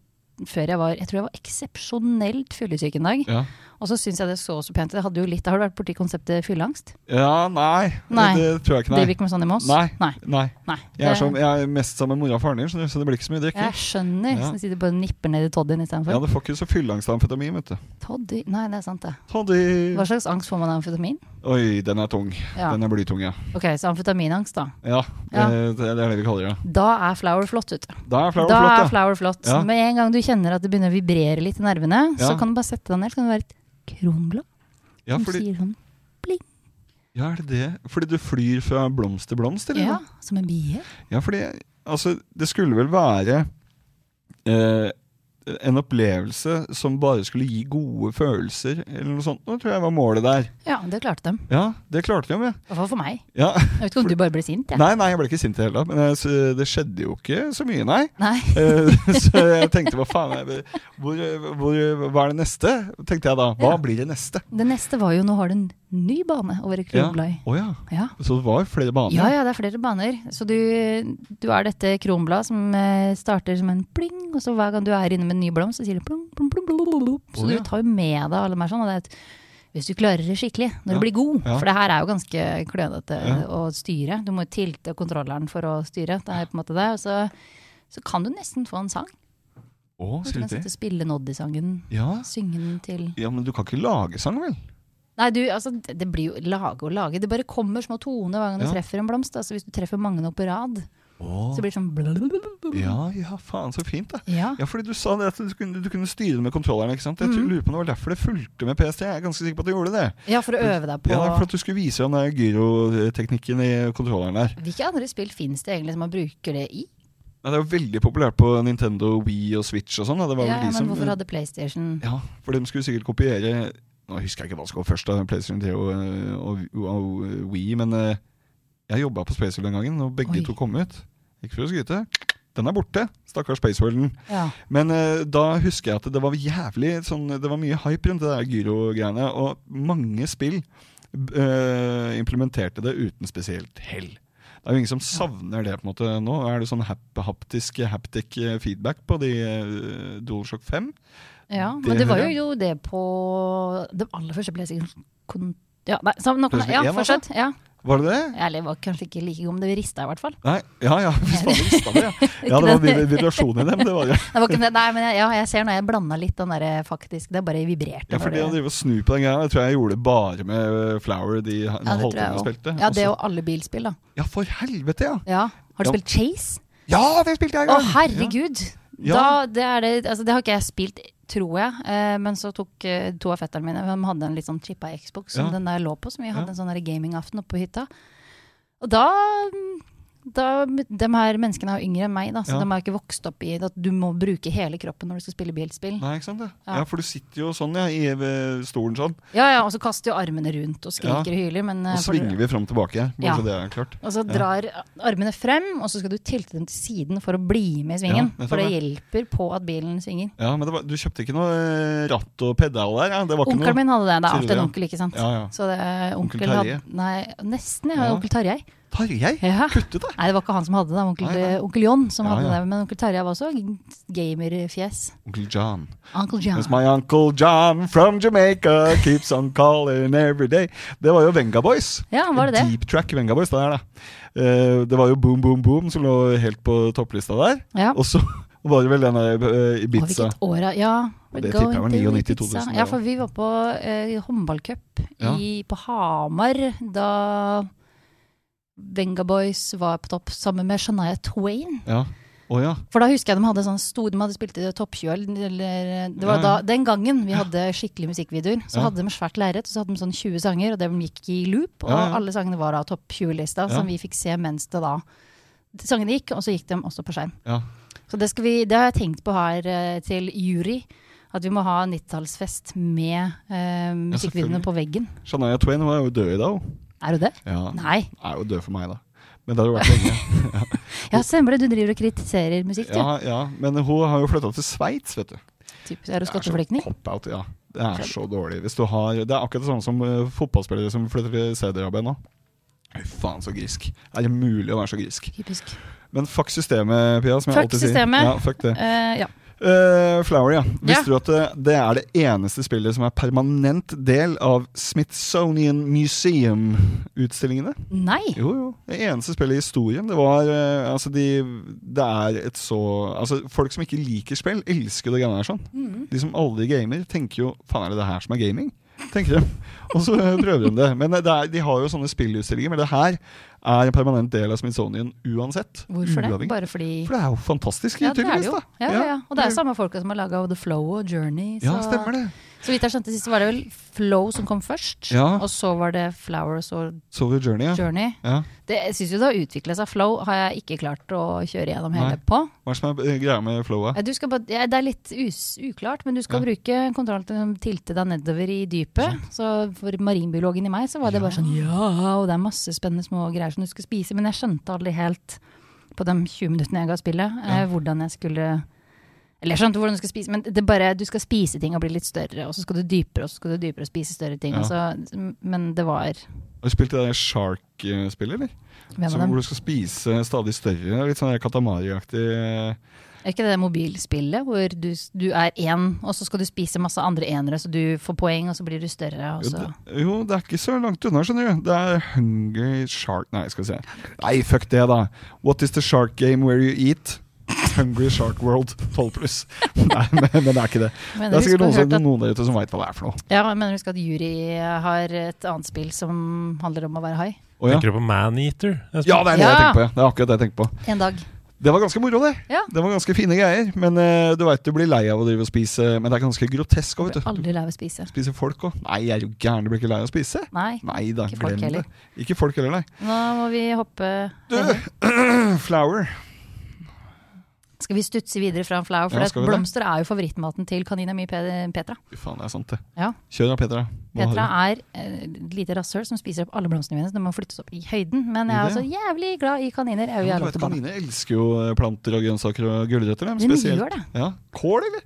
Speaker 3: før jeg var Jeg tror jeg var eksepsjonelt fyllesyk en dag.
Speaker 2: ja.
Speaker 3: Og så syns jeg det så så pent ut. Jeg hadde jo litt Har du vært borti konseptet fylleangst?
Speaker 2: Ja, nei.
Speaker 3: Nei.
Speaker 2: Det tror jeg ikke.
Speaker 3: Driver
Speaker 2: Nei.
Speaker 3: ikke med sånn i Moss?
Speaker 2: Nei.
Speaker 3: Nei.
Speaker 2: nei.
Speaker 3: Nei.
Speaker 2: Jeg, er
Speaker 3: Det-
Speaker 2: som, jeg er mest sammen med mora og faren din, skjønner du, så det blir ikke så mye drikking.
Speaker 3: Jeg skjønner.
Speaker 2: Ja.
Speaker 3: Så de sitter bare og nipper ned i Toddyen
Speaker 2: Ja,
Speaker 3: istedenfor.
Speaker 2: du får ikke så fylleangstampetamin, vet du.
Speaker 3: Toddy Nei, det er sant, det.
Speaker 2: Toddy.
Speaker 3: Hva slags angst får man av amfetamin?
Speaker 2: Oi, den er tung.
Speaker 3: Ja.
Speaker 2: Den er blytung, ja.
Speaker 3: Ok, så amfetaminangst, da.
Speaker 2: Ja,
Speaker 3: Ja.
Speaker 2: Det, det er det vi kaller det.
Speaker 3: Da er flower flott, vet du.
Speaker 2: Da er flower
Speaker 3: Da er
Speaker 2: flott, ja.
Speaker 3: flower flott.
Speaker 2: Ja.
Speaker 3: Med en gang du kjenner at det begynner å vibrere litt i nervene,
Speaker 2: Ja.
Speaker 3: så kan du bare sette deg ned. Så kan du være et kronblad
Speaker 2: Ja,
Speaker 3: som
Speaker 2: fordi,
Speaker 3: sier sånn
Speaker 2: ja, er det det? Fordi du flyr fra blomst til blomst, eller?
Speaker 3: Ja, som en bie.
Speaker 2: ja fordi altså, det skulle vel være eh, en opplevelse som bare skulle gi gode følelser, eller noe sånt. Nå tror jeg var målet der.
Speaker 3: Ja, det klarte de.
Speaker 2: Ja, det klarte de, ja.
Speaker 3: I hvert fall for meg.
Speaker 2: ja.
Speaker 3: Jeg vet ikke om du bare ble sint, jeg.
Speaker 2: Nei, nei, jeg ble ikke sint i det hele tatt, men jeg, s- det skjedde jo ikke så mye, nei.
Speaker 3: Nei.
Speaker 2: Eh, så jeg tenkte hva faen jeg, hvor, hvor, Hva er det neste? tenkte jeg da. Hva
Speaker 3: Ja.
Speaker 2: blir det neste?
Speaker 3: Det neste var jo nå har du en ny bane over i
Speaker 2: Ja.
Speaker 3: Kronblad.
Speaker 2: Å ja.
Speaker 3: Ja.
Speaker 2: Så det var flere baner?
Speaker 3: Ja, ja, det er flere baner. Så du, du er dette kronblad som eh, starter som en pling, og så hver gang du er inne med en ny blomst, så sier det plong, plong, plong, plong, plong, plong. Så
Speaker 2: Å, ja.
Speaker 3: du tar jo med deg alle de her sånn. Og det er et, hvis du klarer det skikkelig, når
Speaker 2: Ja.
Speaker 3: du blir god,
Speaker 2: Ja.
Speaker 3: for det her er jo ganske klønete
Speaker 2: Ja.
Speaker 3: å styre. Du må jo tilte kontrolleren for å styre. Det er på en måte det. Og så, så kan du nesten få en sang.
Speaker 2: Å,
Speaker 3: Du
Speaker 2: sier du
Speaker 3: kan
Speaker 2: det?
Speaker 3: sitte og spille Noddy-sangen.
Speaker 2: Ja.
Speaker 3: Synge den til
Speaker 2: ja, men du kan ikke lage sang, vel?
Speaker 3: Nei, du, altså, det det blir jo lage og lage. Det bare kommer små toner hver gang du
Speaker 2: Ja.
Speaker 3: treffer en blomst. Altså, hvis du treffer mange nok på rad,
Speaker 2: Å.
Speaker 3: så blir det sånn blablabla.
Speaker 2: Ja, ja, faen, så fint, da.
Speaker 3: Ja.
Speaker 2: Ja, fordi Du sa det at du kunne, du kunne styre det med kontrolleren. ikke sant? Jeg
Speaker 3: Mm.
Speaker 2: tror- lurer på om det var derfor det fulgte med PST. Jeg er ganske sikker på at det gjorde det.
Speaker 3: ja, for å øve deg på
Speaker 2: Ja, For at du skulle vise den der gyroteknikken i kontrolleren der.
Speaker 3: Hvilke andre spill fins det egentlig som man bruker det i?
Speaker 2: Nei, det er jo veldig populært på Nintendo Wii og Switch og sånn. da. Det var vel
Speaker 3: Ja, ja,
Speaker 2: de
Speaker 3: men
Speaker 2: som...
Speaker 3: hvorfor hadde PlayStation
Speaker 2: Ja, for de skulle sikkert kopiere Nå husker jeg ikke hva som kom først, da, PlayStation 3 og, eh, og, og Wii, men eh, jeg jobba på Spaceworld den gangen, og begge
Speaker 3: Oi.
Speaker 2: to kom ut. Ikke for å skryte. Den er borte, stakkars Spaceworlden.
Speaker 3: Ja.
Speaker 2: Men eh, da husker jeg at det var jævlig sånn, Det var mye hype rundt det der gyro-greiene, og mange spill b- eh, implementerte det uten spesielt hell. Det er jo ingen som savner det. på en måte Nå er det sånn hap haptisk haptic eh, feedback på de eh, DualShock 5.
Speaker 3: ja
Speaker 2: Det
Speaker 3: men det var
Speaker 2: hører
Speaker 3: jo, jo det på den aller første PlayStation kon- ja, nei, så, nå, kan jeg- ja,
Speaker 2: PlayStation 1, altså?
Speaker 3: fortsett. Ja.
Speaker 2: Var det det?
Speaker 3: Eller det var kanskje ikke like god, men det rista i hvert fall.
Speaker 2: Nei, ja ja. hvis faen, det visste jeg, ja. ja, det var vi- vibrasjon i dem. Det var det.
Speaker 3: Det var ikke, det- nei, men jeg, ja, jeg ser når jeg blanda litt den derre faktisk Det bare vibrerte.
Speaker 2: Ja, for
Speaker 3: når
Speaker 2: det å
Speaker 3: det,
Speaker 2: drive og snu på den greia, jeg tror jeg gjorde det bare med øh, Flower de ja,
Speaker 3: ja, det tror jeg
Speaker 2: halvtimene
Speaker 3: også.
Speaker 2: spilte.
Speaker 3: Ja, det
Speaker 2: Også-
Speaker 3: og alle bilspill, da.
Speaker 2: ja, for helvete, ja!
Speaker 3: Ja. Har du
Speaker 2: Ja.
Speaker 3: spilt Chase?
Speaker 2: Ja, det spilte jeg en
Speaker 3: Å,
Speaker 2: gang!
Speaker 3: herregud!
Speaker 2: Ja.
Speaker 3: Da, det, er det, altså, det har ikke jeg spilt, tror jeg. Eh, men så tok eh, to av fetterne mine De hadde en litt sånn chippa Xbox som
Speaker 2: Ja.
Speaker 3: den der lå på. Som vi
Speaker 2: Ja.
Speaker 3: hadde en sånn der gamingaften oppe på hytta. Og da, da De her menneskene er jo yngre enn meg, da, så
Speaker 2: Ja.
Speaker 3: de har jo ikke vokst opp i at du må bruke hele kroppen når du skal spille bilspill.
Speaker 2: Nei, ikke sant det? Ja.
Speaker 3: Ja.
Speaker 2: for du sitter jo sånn, ja, i øh, stolen sånn.
Speaker 3: Ja, ja, og så kaster jo armene rundt og
Speaker 2: Ja.
Speaker 3: skriker og hyler, men eh,
Speaker 2: Og
Speaker 3: får du-
Speaker 2: svinger vi fram og tilbake, bare
Speaker 3: Ja.
Speaker 2: så det er klart.
Speaker 3: Og så drar armene frem, og så skal du tilte dem til siden for å bli med i svingen.
Speaker 2: Ja, nettopp
Speaker 3: for det
Speaker 2: det.
Speaker 3: hjelper på at bilen svinger.
Speaker 2: Ja, men det var, du kjøpte ikke noe øh, ratt og pedal der? Ja. Det var ikke noe
Speaker 3: Onkelen min hadde det.
Speaker 2: Sier
Speaker 3: Det er
Speaker 2: du
Speaker 3: alltid en
Speaker 2: det,
Speaker 3: onkel, ikke sant.
Speaker 2: Ja, ja.
Speaker 3: Så det, eh, onkel,
Speaker 2: Onkel Terje?
Speaker 3: Hadde, nei, nesten. Ja,
Speaker 2: Ja.
Speaker 3: onkel Tarjei.
Speaker 2: Tarjei?
Speaker 3: Ja.
Speaker 2: Kuttet der?
Speaker 3: Nei, det var ikke han som hadde det. det var Onkel,
Speaker 2: Nei, nei.
Speaker 3: onkel John som
Speaker 2: Ja,
Speaker 3: hadde
Speaker 2: ja.
Speaker 3: det. Men onkel Tarjei var også gamerfjes.
Speaker 2: Onkel John.
Speaker 3: Onkel John.
Speaker 2: As my uncle John from Jamaica keeps on calling every day. Det var jo Venga Boys.
Speaker 3: Ja, var det det?
Speaker 2: Deep Track Venga Boys, det er det. Eh, det var jo Boom Boom Boom som lå helt på topplista der.
Speaker 3: Ja.
Speaker 2: Og så var det vel den der eh,
Speaker 3: Og
Speaker 2: Ibiza.
Speaker 3: hvilket år er Ja,
Speaker 2: Og det tipper jeg var
Speaker 3: going to
Speaker 2: 99,
Speaker 3: Ibiza.
Speaker 2: 2000,
Speaker 3: Ja,
Speaker 2: det
Speaker 3: for vi var på eh, håndballcup
Speaker 2: Ja.
Speaker 3: i- på Hamar da Venga Boys var på topp sammen med Shania Twain.
Speaker 2: Ja. Å ja.
Speaker 3: For da husker jeg de hadde sånn stor De hadde spilt i Topp 20 eller, eller Det var
Speaker 2: Ja,
Speaker 3: da,
Speaker 2: ja.
Speaker 3: den gangen vi hadde skikkelig musikkvideoer. Så
Speaker 2: Ja.
Speaker 3: hadde de svært lerret, og så hadde de sånn 20 sanger, og de gikk i loop. Og
Speaker 2: Ja, ja.
Speaker 3: alle sangene var av Topp 20-lista,
Speaker 2: Ja.
Speaker 3: som vi fikk se mens det da Sangene gikk, og så gikk de også på skjerm.
Speaker 2: ja.
Speaker 3: Så det, skal vi, det har jeg tenkt på her eh, til jury. At vi må ha 90-tallsfest med eh,
Speaker 2: selvfølgelig.
Speaker 3: musikkvideoene på veggen.
Speaker 2: Shania Twain var jo død i dag, hun.
Speaker 3: Er du det?
Speaker 2: Ja.
Speaker 3: Nei.
Speaker 2: Er jo død for meg, da. Men det har jo vært lenge.
Speaker 3: Ja, stemmer det. Du driver og kritiserer musikk, du.
Speaker 2: Ja, ja. Men hun har jo flytta til Sveits, vet du.
Speaker 3: Typisk, er du
Speaker 2: Det er så
Speaker 3: skatteflyktning?
Speaker 2: cop-out, ja. Det er så dårlig. Hvis du har, det er akkurat det samme som eh, fotballspillere som flytter til Saudi-Arabia nå. Fy faen, så grisk. Er det mulig å være så grisk?
Speaker 3: Typisk.
Speaker 2: Men fuck systemet, Pia. Som jeg
Speaker 3: Fuck
Speaker 2: alltid sier.
Speaker 3: systemet.
Speaker 2: Ja, fuck det.
Speaker 3: Eh, ja.
Speaker 2: Eh, Flower, ja. Visste
Speaker 3: Ja.
Speaker 2: du at det, det er det eneste spillet som er permanent del av Smithsonian Museum-utstillingene?
Speaker 3: Nei.
Speaker 2: Jo, jo. Det eneste spillet i historien. Det var eh, Altså, de Det er et så Altså, folk som ikke liker spill, elsker det greiene der sånn.
Speaker 3: Mm.
Speaker 2: De som aldri gamer, tenker jo Faen, er det det her som er gaming? Tenker de. Og så prøver de det. Men eh, det er, de har jo sånne spillutstillinger. Men det her er en permanent del av Smithsonian uansett.
Speaker 3: Hvorfor det?
Speaker 2: Uavhengig.
Speaker 3: Bare fordi
Speaker 2: For det er jo fantastisk,
Speaker 3: Ja, det er det
Speaker 2: tydeligvis.
Speaker 3: jo.
Speaker 2: da.
Speaker 3: Ja, ja, ja. Og det er samme folka som har laga The Flow og Journey.
Speaker 2: Ja, stemmer det.
Speaker 3: Så vidt jeg skjønte sist, så var det vel Flow som kom først.
Speaker 2: Ja.
Speaker 3: Og så var det Flowers og
Speaker 2: Sorry, Journey. Ja.
Speaker 3: Journey.
Speaker 2: Ja.
Speaker 3: Det, jeg syns jo det har utvikla seg. Flow har jeg ikke klart å kjøre gjennom hele
Speaker 2: Nei.
Speaker 3: på.
Speaker 2: Hva er det som er eh, greia med flowet?
Speaker 3: Eh, Du skal bare, ja, det er litt us, uklart, men du skal bruke kontrollen til å tilte deg nedover i dypet. Så for marinbiologen i meg så var det bare sånn ja, og det er masse spennende små greier som du skal spise. Men jeg skjønte aldri helt på de 20 minuttene jeg ga spillet, eh, hvordan jeg skulle Eller jeg skjønte hvordan du skal spise, men det er bare, du skal spise ting og bli litt større, og så skal du dypere, og så skal du dypere og spise større ting.
Speaker 2: Ja.
Speaker 3: og så- men det var
Speaker 2: Har du spilt det der Shark-spillet, eller?
Speaker 3: Hvem av
Speaker 2: Som,
Speaker 3: dem?
Speaker 2: hvor du skal spise stadig større, litt sånn Katamari-aktig eh,
Speaker 3: Er ikke det det mobilspillet hvor du, du er én, og så skal du spise masse andre enere, så du får poeng, og så blir du større, og
Speaker 2: jo,
Speaker 3: så
Speaker 2: det- jo, det er ikke så langt unna, skjønner du. Det er Hungry Shark Nei, skal vi se. Nei, fuck det, da. What is the shark game where you eat? Hungry Shark World 12 pluss. Nei, men, men det er ikke det.
Speaker 3: Men
Speaker 2: Det er
Speaker 3: husk
Speaker 2: sikkert noen,
Speaker 3: å ha hørt
Speaker 2: som-
Speaker 3: at-
Speaker 2: noen der ute som veit hva det er for noe.
Speaker 3: Ja, jeg mener husk at jury har et annet spill som handler om å være hai.
Speaker 2: Å, ja.
Speaker 1: Tenker du på Maneater? Espen?
Speaker 2: ja, det er det jeg
Speaker 3: Ja.
Speaker 2: tenker på. ja. Det er akkurat det jeg tenker på.
Speaker 3: En dag.
Speaker 2: Det var ganske moro, det.
Speaker 3: Ja.
Speaker 2: Det var ganske fine greier. Men eh, du veit du blir lei av å drive og spise, men det er ganske grotesk òg,
Speaker 3: Jeg
Speaker 2: vet
Speaker 3: blir
Speaker 2: du.
Speaker 3: aldri lei av å spise.
Speaker 2: Spise folk òg. Nei, jeg er jo gæren, du blir ikke lei av å spise?
Speaker 3: Nei.
Speaker 2: Nei da,
Speaker 3: Ikke
Speaker 2: glem
Speaker 3: folk
Speaker 2: det.
Speaker 3: heller.
Speaker 2: Ikke folk heller, nei.
Speaker 3: Nå må vi hoppe
Speaker 2: Du, flower.
Speaker 3: Skal vi stutse videre fra en flower?
Speaker 2: Ja,
Speaker 3: For
Speaker 2: skal vi det?
Speaker 3: blomster er jo favorittmaten til kanina mi Pe- Petra.
Speaker 2: Fy faen, det er sant, det.
Speaker 3: Ja.
Speaker 2: Kjør da, Petra. Hva
Speaker 3: Petra
Speaker 2: har
Speaker 3: er eh, et lite rasshøl som spiser opp alle blomstene mine, så de må flyttes opp i høyden. Men jeg er
Speaker 2: Gjør
Speaker 3: også jævlig glad i kaniner.
Speaker 2: du?
Speaker 3: Jeg er jo
Speaker 2: Ja, men du
Speaker 3: jævla
Speaker 2: vet,
Speaker 3: til barna.
Speaker 2: Kaniner elsker jo eh, planter og grønnsaker og gulrøtter. dem,
Speaker 3: Men de
Speaker 2: Spesielt.
Speaker 3: gjør det.
Speaker 2: Ja. Kål, eller?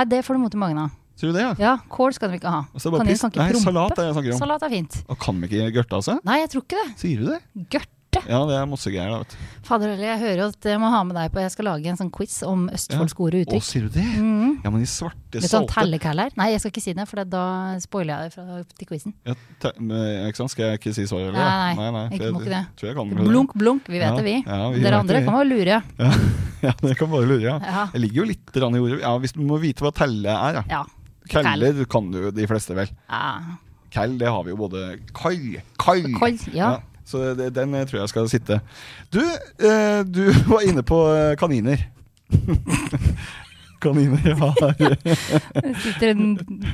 Speaker 3: Nei, det får du vondt i magen av.
Speaker 2: Tror du det, ja?
Speaker 3: Ja, kål skal de ikke ha.
Speaker 2: Og så er det bare
Speaker 3: Kaniner
Speaker 2: piss.
Speaker 3: kan ikke
Speaker 2: Nei,
Speaker 3: prompe.
Speaker 2: salat er det jeg snakker om.
Speaker 3: Salat er fint.
Speaker 2: Og kan vi ikke gørte av seg?
Speaker 3: Nei, jeg tror ikke det.
Speaker 2: Sier du det?
Speaker 3: Gørte.
Speaker 2: Ja, det er masse greier, da, vet du.
Speaker 3: Fader heller, jeg hører jo at jeg må ha med deg på Jeg skal lage en sånn quiz om Østfolds gode
Speaker 2: Å,
Speaker 3: uttrykk.
Speaker 2: sier du det?
Speaker 3: Mhm.
Speaker 2: Ja, men de svarte
Speaker 3: Litt sånn
Speaker 2: salte
Speaker 3: tellekaller. Nei, jeg skal ikke si det, for da spoiler jeg det fra, til quizen.
Speaker 2: Ja, te- men, eh, ikke sant? Skal jeg ikke si svaret? eller?
Speaker 3: Nei, nei,
Speaker 2: for
Speaker 3: ikke-
Speaker 2: jeg
Speaker 3: må ikke det.
Speaker 2: Tror jeg kan
Speaker 3: Blunk, blunk, vi vet
Speaker 2: Ja,
Speaker 3: det, vi.
Speaker 2: ja, vi vet
Speaker 3: Dere andre
Speaker 2: det, vi.
Speaker 3: kan bare lure.
Speaker 2: Ja, det kan bare lure. Ja.
Speaker 3: Ja.
Speaker 2: Jeg ligger jo litt grann i ordet. Ja, Hvis du må vite hva telle er, ja.
Speaker 3: ja.
Speaker 2: Kelle du kan du de fleste, vel.
Speaker 3: ja.
Speaker 2: Kell, det har vi jo både Kall! Kall!
Speaker 3: Koll, ja.
Speaker 2: så det, den eh, tror jeg skal sitte. Du, eh, du var inne på eh, kaniner. kaniner har
Speaker 3: Det sitter en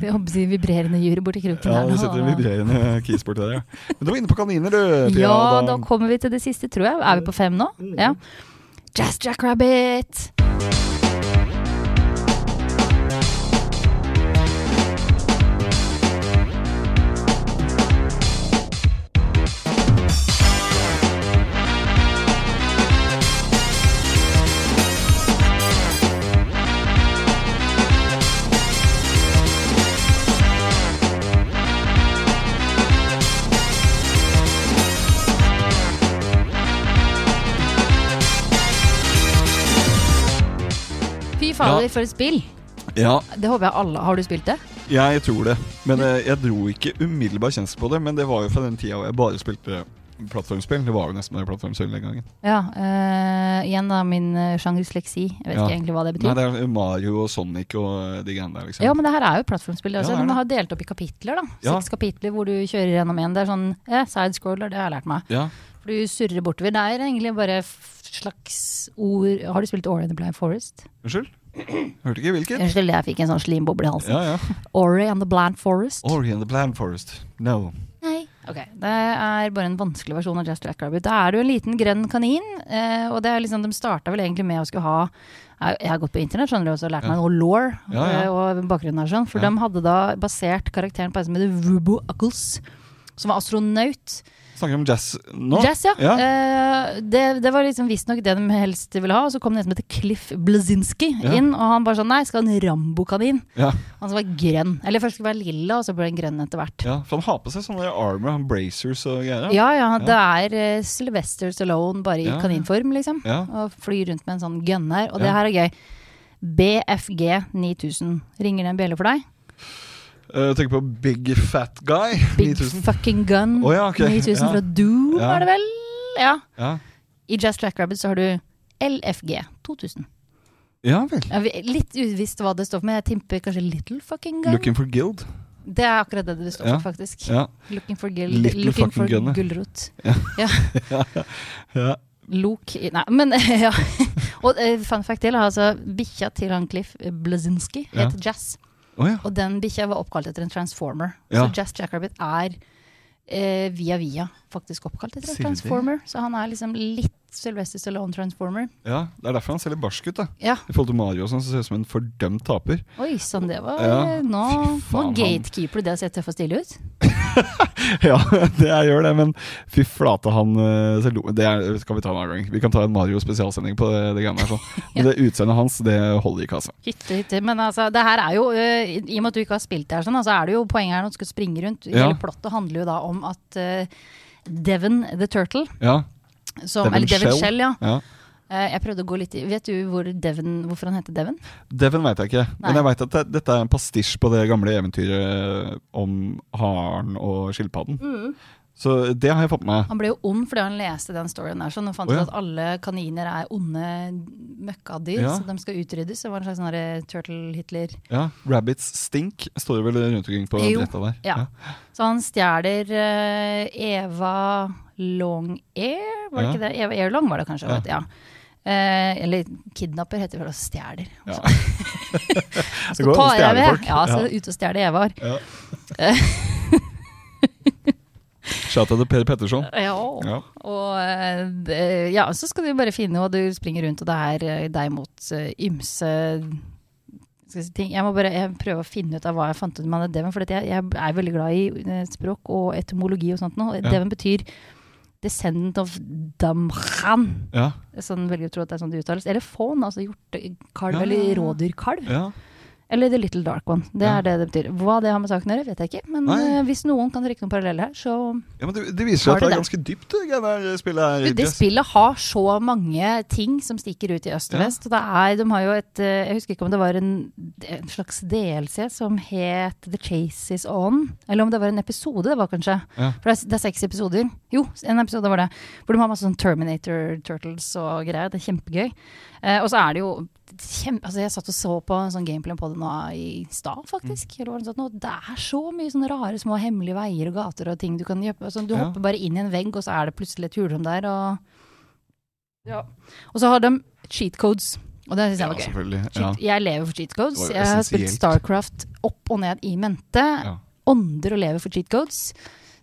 Speaker 3: jeg håper å si, vibrerende jury borti kroken
Speaker 2: Ja,
Speaker 3: her
Speaker 2: det sitter en
Speaker 3: nå.
Speaker 2: vibrerende keysport der, ja. Men du var inne på kaniner, du. Pia,
Speaker 3: Ja, da kommer vi til det siste, tror jeg. Er vi på fem nå?
Speaker 2: Mm.
Speaker 3: Ja. Jazz Jackrabbit! Fy fader, for et spill!
Speaker 2: Ja,
Speaker 3: Det håper jeg alle Har du spilt det?
Speaker 2: Jeg tror det. Men eh, jeg dro ikke umiddelbar kjensel på det. Men det var jo fra den tida hvor jeg bare spilte plattformspill. Det var jo nesten bare plattformspill den gangen.
Speaker 3: Ja. eh, igjen da min eh, sjangerdysleksi. Jeg vet
Speaker 2: Ja.
Speaker 3: ikke egentlig hva det betyr.
Speaker 2: Nei, det er Mario og Sonic og eh, de greiene der, liksom.
Speaker 3: Ja, men det her er jo et plattformspill.
Speaker 2: Ja,
Speaker 3: Altså,
Speaker 2: det er
Speaker 3: de
Speaker 2: det.
Speaker 3: har delt opp i kapitler. da
Speaker 2: Ja.
Speaker 3: Seks kapitler hvor du kjører gjennom én. Det er sånn eh, sidescroller, det har jeg lært meg.
Speaker 2: Ja.
Speaker 3: For du surrer bortover. Det er egentlig bare f- slags ord Har du spilt Ori and the Blind Forest?
Speaker 2: Unnskyld? Hørte ikke hvilket?
Speaker 3: Unnskyld, jeg fikk en sånn slimboble i halsen.
Speaker 2: Ja, ja.
Speaker 3: Ori and the Blind Forest?
Speaker 2: Ori and the Blind Forest. No.
Speaker 3: Nei. Ok, Det er bare en vanskelig versjon av Just Jack Rabbit. Da er du en liten grønn kanin, eh, og det er liksom, de starta vel egentlig med å skulle ha Jeg jeg har gått på internett skjønner du, og så lært meg noe law
Speaker 2: Ja, ja.
Speaker 3: og bakgrunnen her, sånn, for
Speaker 2: Ja.
Speaker 3: de hadde da basert karakteren på en som heter Rubo Uggles. Som var astronaut.
Speaker 2: Snakker om jazz nå?
Speaker 3: Jazz, ja.
Speaker 2: Ja.
Speaker 3: Eh, det, det var liksom visstnok det de helst ville ha. Og så kom det en som heter Cliff Blazinski
Speaker 2: Ja.
Speaker 3: inn, og han bare sånn Nei, skal ha en Rambo-kanin.
Speaker 2: Ja.
Speaker 3: Han som var grønn. Eller først skulle være lilla, og så ble han grønn etter hvert.
Speaker 2: ja. For han har på seg sånne armor, han bracers og greier.
Speaker 3: Ja, ja. Det er eh, Sylvester Stallone bare i
Speaker 2: Ja, ja.
Speaker 3: kaninform, liksom.
Speaker 2: Ja.
Speaker 3: Og flyr rundt med en sånn gunner. Og
Speaker 2: Ja.
Speaker 3: det her er gøy. BFG 9000. Ringer det en bjelle for deg?
Speaker 2: Eh, tenker på Big Fat Guy.
Speaker 3: Big
Speaker 2: 9000.
Speaker 3: fucking gun.
Speaker 2: Å ja, ok.
Speaker 3: 9000
Speaker 2: Ja.
Speaker 3: fra Doom,
Speaker 2: Ja.
Speaker 3: er det vel? Ja.
Speaker 2: Ja.
Speaker 3: I Jazz Track Rabbit så har du LFG 2000.
Speaker 2: ja vel.
Speaker 3: Ja, vi- litt uvisst hva det står for, men jeg tipper kanskje Little Fucking Gun.
Speaker 2: Looking for Guild.
Speaker 3: Det er akkurat det det står
Speaker 2: Ja.
Speaker 3: for, faktisk.
Speaker 2: Ja.
Speaker 3: Looking for, gil
Speaker 2: Little
Speaker 3: looking for
Speaker 2: fucking gun, ja.
Speaker 3: gulrot.
Speaker 2: Ja.
Speaker 3: Ja.
Speaker 2: Ja.
Speaker 3: Lok i- Nei, men ja. Og eh, fun fact til, altså bikkja til han Cliff Blazinski
Speaker 2: Ja.
Speaker 3: heter Jazz.
Speaker 2: Å ja.
Speaker 3: Og den bikkja var oppkalt etter en transformer.
Speaker 2: Ja.
Speaker 3: Så Jazz Jackrabbit er eh, via via faktisk oppkalt etter
Speaker 2: Sier du
Speaker 3: en transformer. Så han er liksom litt Sylvester Stallone transformer.
Speaker 2: ja. Det er derfor han ser litt barsk ut, da.
Speaker 3: Ja,
Speaker 2: I forhold til Mario og sånn, så ser det ut som en fordømt taper.
Speaker 3: oi sann, det var
Speaker 2: Ja.
Speaker 3: eh, Nå,
Speaker 2: Fy
Speaker 3: nå
Speaker 2: faen, han-
Speaker 3: gatekeeper du det å se tøff og stille ut.
Speaker 2: ja, det jeg gjør det, men fy flate han eh, ser lo- Det er, skal vi ta en annen gang. Vi kan ta en Mario spesialsending på det, det greiene her. Sånn. Men det utseendet hans, det holder ikke, altså.
Speaker 3: Hytte, hytte. Men altså, det her er jo eh, I i og med at du ikke har spilt det her, sånn, altså, er det jo poenget her når du skal springe rundt.
Speaker 2: Ja.
Speaker 3: Hele plottet handler jo da om at eh, Devon the Turtle,
Speaker 2: Ja,
Speaker 3: som,
Speaker 2: Devon
Speaker 3: eller Devon
Speaker 2: Shell.
Speaker 3: Shell, ja.
Speaker 2: ja.
Speaker 3: Eh, jeg prøvde å gå litt i Vet du hvor Devon, hvorfor han heter Devon?
Speaker 2: Devon veit jeg ikke, men
Speaker 3: Nei.
Speaker 2: jeg veit at det, dette er en pastisj på det gamle eventyret om haren og skilpadden. Så det har jeg fått med meg.
Speaker 3: Han ble jo ond fordi han leste den storyen der. Sånn, og fant
Speaker 2: Å,
Speaker 3: ut
Speaker 2: ja.
Speaker 3: at alle kaniner er onde møkkadyr,
Speaker 2: Ja.
Speaker 3: så de skal utryddes. Det var en slags sånn her, eh, Turtle-Hitler.
Speaker 2: Ja, Rabbits stink står det vel rundt omkring på
Speaker 3: Jo,
Speaker 2: bretta der.
Speaker 3: ja. Så han stjeler eh, Eva Long-Air, var det
Speaker 2: Ja.
Speaker 3: ikke det? Eva Airlong var det kanskje.
Speaker 2: Ja.
Speaker 3: vet du, Ja. Eh, eller kidnapper heter det vel, Altså, og stjeler.
Speaker 2: Ja.
Speaker 3: Han
Speaker 2: går an
Speaker 3: skal ta
Speaker 2: å stjele
Speaker 3: Eva,
Speaker 2: folk.
Speaker 3: ja. Så
Speaker 2: Ja.
Speaker 3: ut og stjele Eva. var.
Speaker 2: Ja. Shout out til Per Petterson.
Speaker 3: Ja.
Speaker 2: Ja.
Speaker 3: Og eh, det- ja, så skal du bare finne hva du springer rundt, og det er eh, deg mot eh, ymse skal jeg si, ting. Jeg må bare jeg prøve å finne ut av hva jeg fant ut med Deven, for at jeg, jeg er veldig glad i eh, språk og etymologi og sånt nå.
Speaker 2: Ja.
Speaker 3: Deven betyr 'descendant of damran'.
Speaker 2: Ja,
Speaker 3: Sånn velger jeg å tro at det er sånn det uttales. Eller faun, altså
Speaker 2: Ja, ja,
Speaker 3: hjortekalv
Speaker 2: ja.
Speaker 3: eller rådyrkalv.
Speaker 2: ja.
Speaker 3: Eller The Little Dark One. Det
Speaker 2: Ja.
Speaker 3: er det det betyr. Hva det har med saken å gjøre, vet jeg ikke. Men
Speaker 2: Nei.
Speaker 3: eh, hvis noen kan trekke noen paralleller her, så
Speaker 2: ja men det, det viser seg
Speaker 3: Har
Speaker 2: at det
Speaker 3: det
Speaker 2: er ganske dypt, det greiene her spillet her.
Speaker 3: Du, det
Speaker 2: Jess.
Speaker 3: spillet har så mange ting som stikker ut i øst og
Speaker 2: Ja.
Speaker 3: vest. Og det er, de har jo et eh, Jeg husker ikke om det var en, en slags DLC som het The Chase Is On. Eller om det var en episode, det var kanskje.
Speaker 2: Ja.
Speaker 3: For det er, det er seks episoder. Jo, en episode var det. Hvor de har masse sånn Terminator Turtles og greier. Det er kjempegøy. Eh, og så er det jo kjem- altså jeg satt og så på en sånn gameplay på det nå i stad,
Speaker 2: Mm.
Speaker 3: faktisk. Eller hva det, nå. det er så mye sånne rare små hemmelige veier og gater og ting du kan gjøre. Altså, du
Speaker 2: Ja.
Speaker 3: hopper bare inn i en vegg, og så er det plutselig et hulrom der. Og, ja. og så har de cheat codes, og det syns
Speaker 2: Ja,
Speaker 3: jeg var gøy.
Speaker 2: selvfølgelig. Ja.
Speaker 3: Cheat, Jeg lever for cheat codes.
Speaker 2: Det var jo
Speaker 3: Jeg har spilt
Speaker 2: essensielt.
Speaker 3: Starcraft opp og ned i mente.
Speaker 2: Ja.
Speaker 3: Ånder og lever for cheat codes.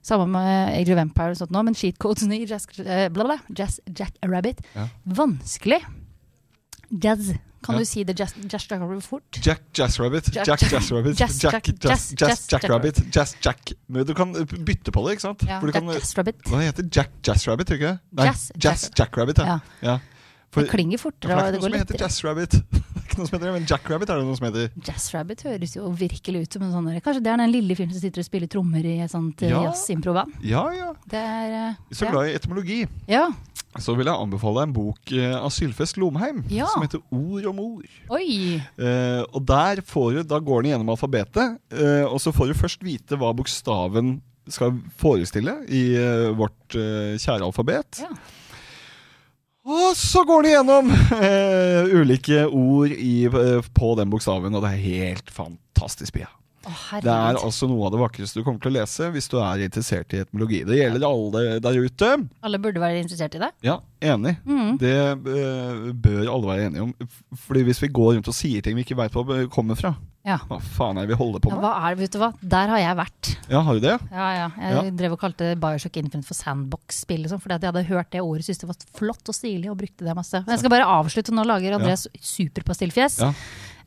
Speaker 3: Samme med Age of Empire og sånt nå, men cheat codesene i Jazz, eh, bla bla, jazz Jack Rabbit
Speaker 2: Ja.
Speaker 3: Vanskelig. Jazz. Kan
Speaker 2: Ja.
Speaker 3: du si det jazz, jazz Jack Rabbit fort?
Speaker 2: Jack Jazzrabbit.
Speaker 3: Jack-
Speaker 2: Jack Jazzrabbit.
Speaker 3: Jazz-
Speaker 2: Jack
Speaker 3: Jack-
Speaker 2: Jazz- Jazz
Speaker 3: Jazz- Jazz-
Speaker 2: Jackrabbit. Jazz Jack. Men Du kan bytte på det, ikke sant?
Speaker 3: Ja,
Speaker 2: For du
Speaker 3: Jack
Speaker 2: kan,
Speaker 3: Jazz Rabbit.
Speaker 2: hva heter det? Jack Jazzrabbit, tror du ikke det? Nei,
Speaker 3: Jazz-
Speaker 2: Jazz Jackrabbit, ja.
Speaker 3: Ja.
Speaker 2: ja. For,
Speaker 3: Det klinger fortere,
Speaker 2: for
Speaker 3: og
Speaker 2: det er
Speaker 3: det
Speaker 2: ikke noe som
Speaker 3: går
Speaker 2: heter
Speaker 3: lettere.
Speaker 2: Jazzrabbit. Det er ikke noe som heter det, men Jackrabbit er det noe som heter.
Speaker 3: Jazz Rabbit høres jo virkelig ut som en sånn der- Kanskje det er den lille fyren som sitter og spiller trommer i et sånt eh,
Speaker 2: Ja.
Speaker 3: jazz-improband?
Speaker 2: Ja, ja.
Speaker 3: Det er eh,
Speaker 2: Så
Speaker 3: ja.
Speaker 2: glad i etymologi,
Speaker 3: ja.
Speaker 2: så vil jeg anbefale en bok eh, av Sylfest Lomheim
Speaker 3: Ja.
Speaker 2: som heter Ord om ord.
Speaker 3: Oi!
Speaker 2: Eh, og der får du, da går den gjennom alfabetet, eh, og så får du først vite hva bokstaven skal forestille i eh, vårt eh, kjære alfabet.
Speaker 3: Ja.
Speaker 2: Og så går den gjennom eh, ulike ord i, eh, på den bokstaven, og det er helt fantastisk, Pia.
Speaker 3: Å,
Speaker 2: Det er
Speaker 3: herregud.
Speaker 2: altså noe av det vakreste du kommer til å lese hvis du er interessert i etymologi. Det gjelder alle der ute.
Speaker 3: Alle burde være interessert i det.
Speaker 2: Ja, enig.
Speaker 3: Mm.
Speaker 2: Det eh, bør alle være enige om. F- Fordi hvis vi går rundt og sier ting vi ikke veit hvor det kommer fra,
Speaker 3: Ja.
Speaker 2: hva faen er det vi holder på
Speaker 3: ja.
Speaker 2: med?
Speaker 3: Hva er det, vet du hva? Der har jeg vært.
Speaker 2: Ja, har du det?
Speaker 3: Ja, ja. Jeg drev og kalte Bioshock Infinite for sandbox-spill. Liksom, fordi at jeg hadde hørt det ordet, syntes det var flott og stilig og brukte det masse. Men jeg skal bare avslutte, nå lager Andreas superpastillfjes.
Speaker 2: Ja.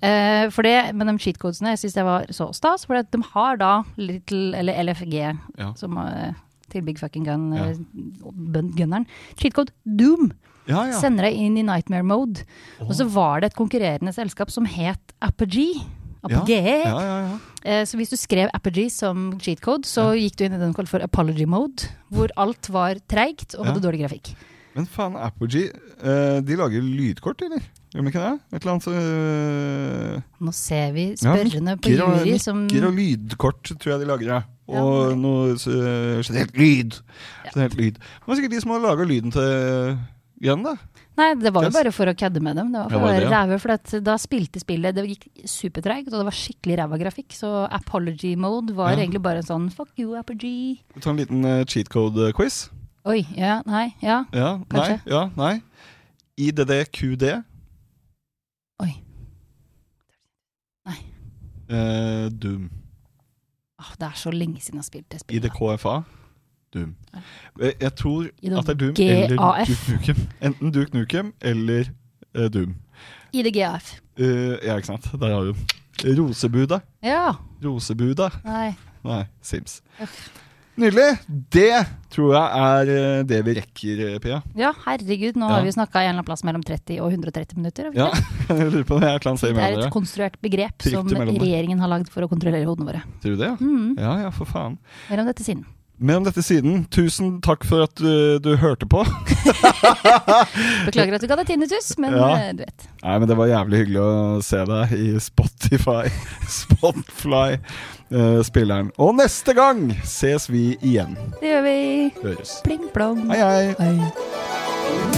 Speaker 3: Eh, for det, men de cheat codesene, jeg syns det var så stas. For de har da Little, eller LFG,
Speaker 2: Ja.
Speaker 3: som eh, til Big Fucking Gun,
Speaker 2: Ja.
Speaker 3: eh, bun- gunneren. Cheat code Doom
Speaker 2: Ja, ja.
Speaker 3: sender deg inn i nightmare mode. Og så var det et konkurrerende selskap som het Apogee. Apogee.
Speaker 2: Ja, ja, ja.
Speaker 3: Eh, Så hvis du skrev Apogee som cheat code, så gikk du inn i den kalt for apology mode, hvor alt var treigt og hadde
Speaker 2: Ja.
Speaker 3: dårlig grafikk.
Speaker 2: Men faen, Apogee, eh, de lager lydkort, eller? Gjør de ikke det? Et eller annet eh,
Speaker 3: Nå ser vi
Speaker 2: ja,
Speaker 3: spørrende på
Speaker 2: og-
Speaker 3: jury som
Speaker 2: mikker og lydkort, tror jeg de lager, ja.
Speaker 3: Mm. Ja,
Speaker 2: Og
Speaker 3: det-
Speaker 2: noe eh, generelt lyd. Generelt lyd. Det var sikkert de som har laga lyden til Gren, da.
Speaker 3: Nei, det var jo
Speaker 2: Yes.
Speaker 3: bare for å kødde med dem. Det
Speaker 2: Ja,
Speaker 3: var for å
Speaker 2: var det
Speaker 3: være
Speaker 2: det, ja?
Speaker 3: ræve, for at da spilte spillet Det gikk supertreigt, og det var skikkelig ræva grafikk. Så apology mode var
Speaker 2: Ja.
Speaker 3: egentlig bare en sånn fuck you, Apogee.
Speaker 2: Vi tar en liten eh, cheat code-quiz.
Speaker 3: Oi, ja, nei, ja.
Speaker 2: Ja, nei,
Speaker 3: Kanskje.
Speaker 2: ja, nei. IDDQD.
Speaker 3: Oi. Nei.
Speaker 2: Eh, Doom.
Speaker 3: Åh, det er så lenge siden jeg har spilt det
Speaker 2: I det
Speaker 3: spillet.
Speaker 2: KFA. Doom. Jeg, jeg tror
Speaker 3: I det
Speaker 2: at det er Doom
Speaker 3: GAF.
Speaker 2: eller Duke Nukem. Enten Duke Nukem eller eh, Doom.
Speaker 3: IDGF.
Speaker 2: Eh, ja, ikke sant. Der har du Rosebudet.
Speaker 3: Ja.
Speaker 2: Rosebudet.
Speaker 3: Nei.
Speaker 2: Nei, Sims.
Speaker 3: Uff.
Speaker 2: Nydelig. Det tror jeg er eh, det vi rekker, eh, Pia.
Speaker 3: Ja, herregud,
Speaker 2: Ja.
Speaker 3: nå har vi jo snakka en eller annen plass mellom 30 og 130 minutter. har vi
Speaker 2: Ja,
Speaker 3: ikke?
Speaker 2: jeg lurer på om jeg kan si
Speaker 3: Det
Speaker 2: med
Speaker 3: er
Speaker 2: dere.
Speaker 3: et konstruert begrep
Speaker 2: Trygt
Speaker 3: som
Speaker 2: imellom der.
Speaker 3: regjeringen har lagd for å kontrollere hodene våre.
Speaker 2: Tror du det? ja?
Speaker 3: Mm.
Speaker 2: Ja, ja, for faen.
Speaker 3: Mer om dette siden.
Speaker 2: Men om dette siden, tusen takk for at du, du hørte på.
Speaker 3: Beklager at du ga deg tinnitus, men
Speaker 2: Ja.
Speaker 3: eh, du vet.
Speaker 2: Nei, men det var jævlig hyggelig å se deg i Spotify, Spotfly, eh, spilleren. Og neste gang ses vi igjen.
Speaker 3: Det gjør vi.
Speaker 2: Høres.
Speaker 3: Pling plong.
Speaker 2: Hei, hei.
Speaker 3: Hei.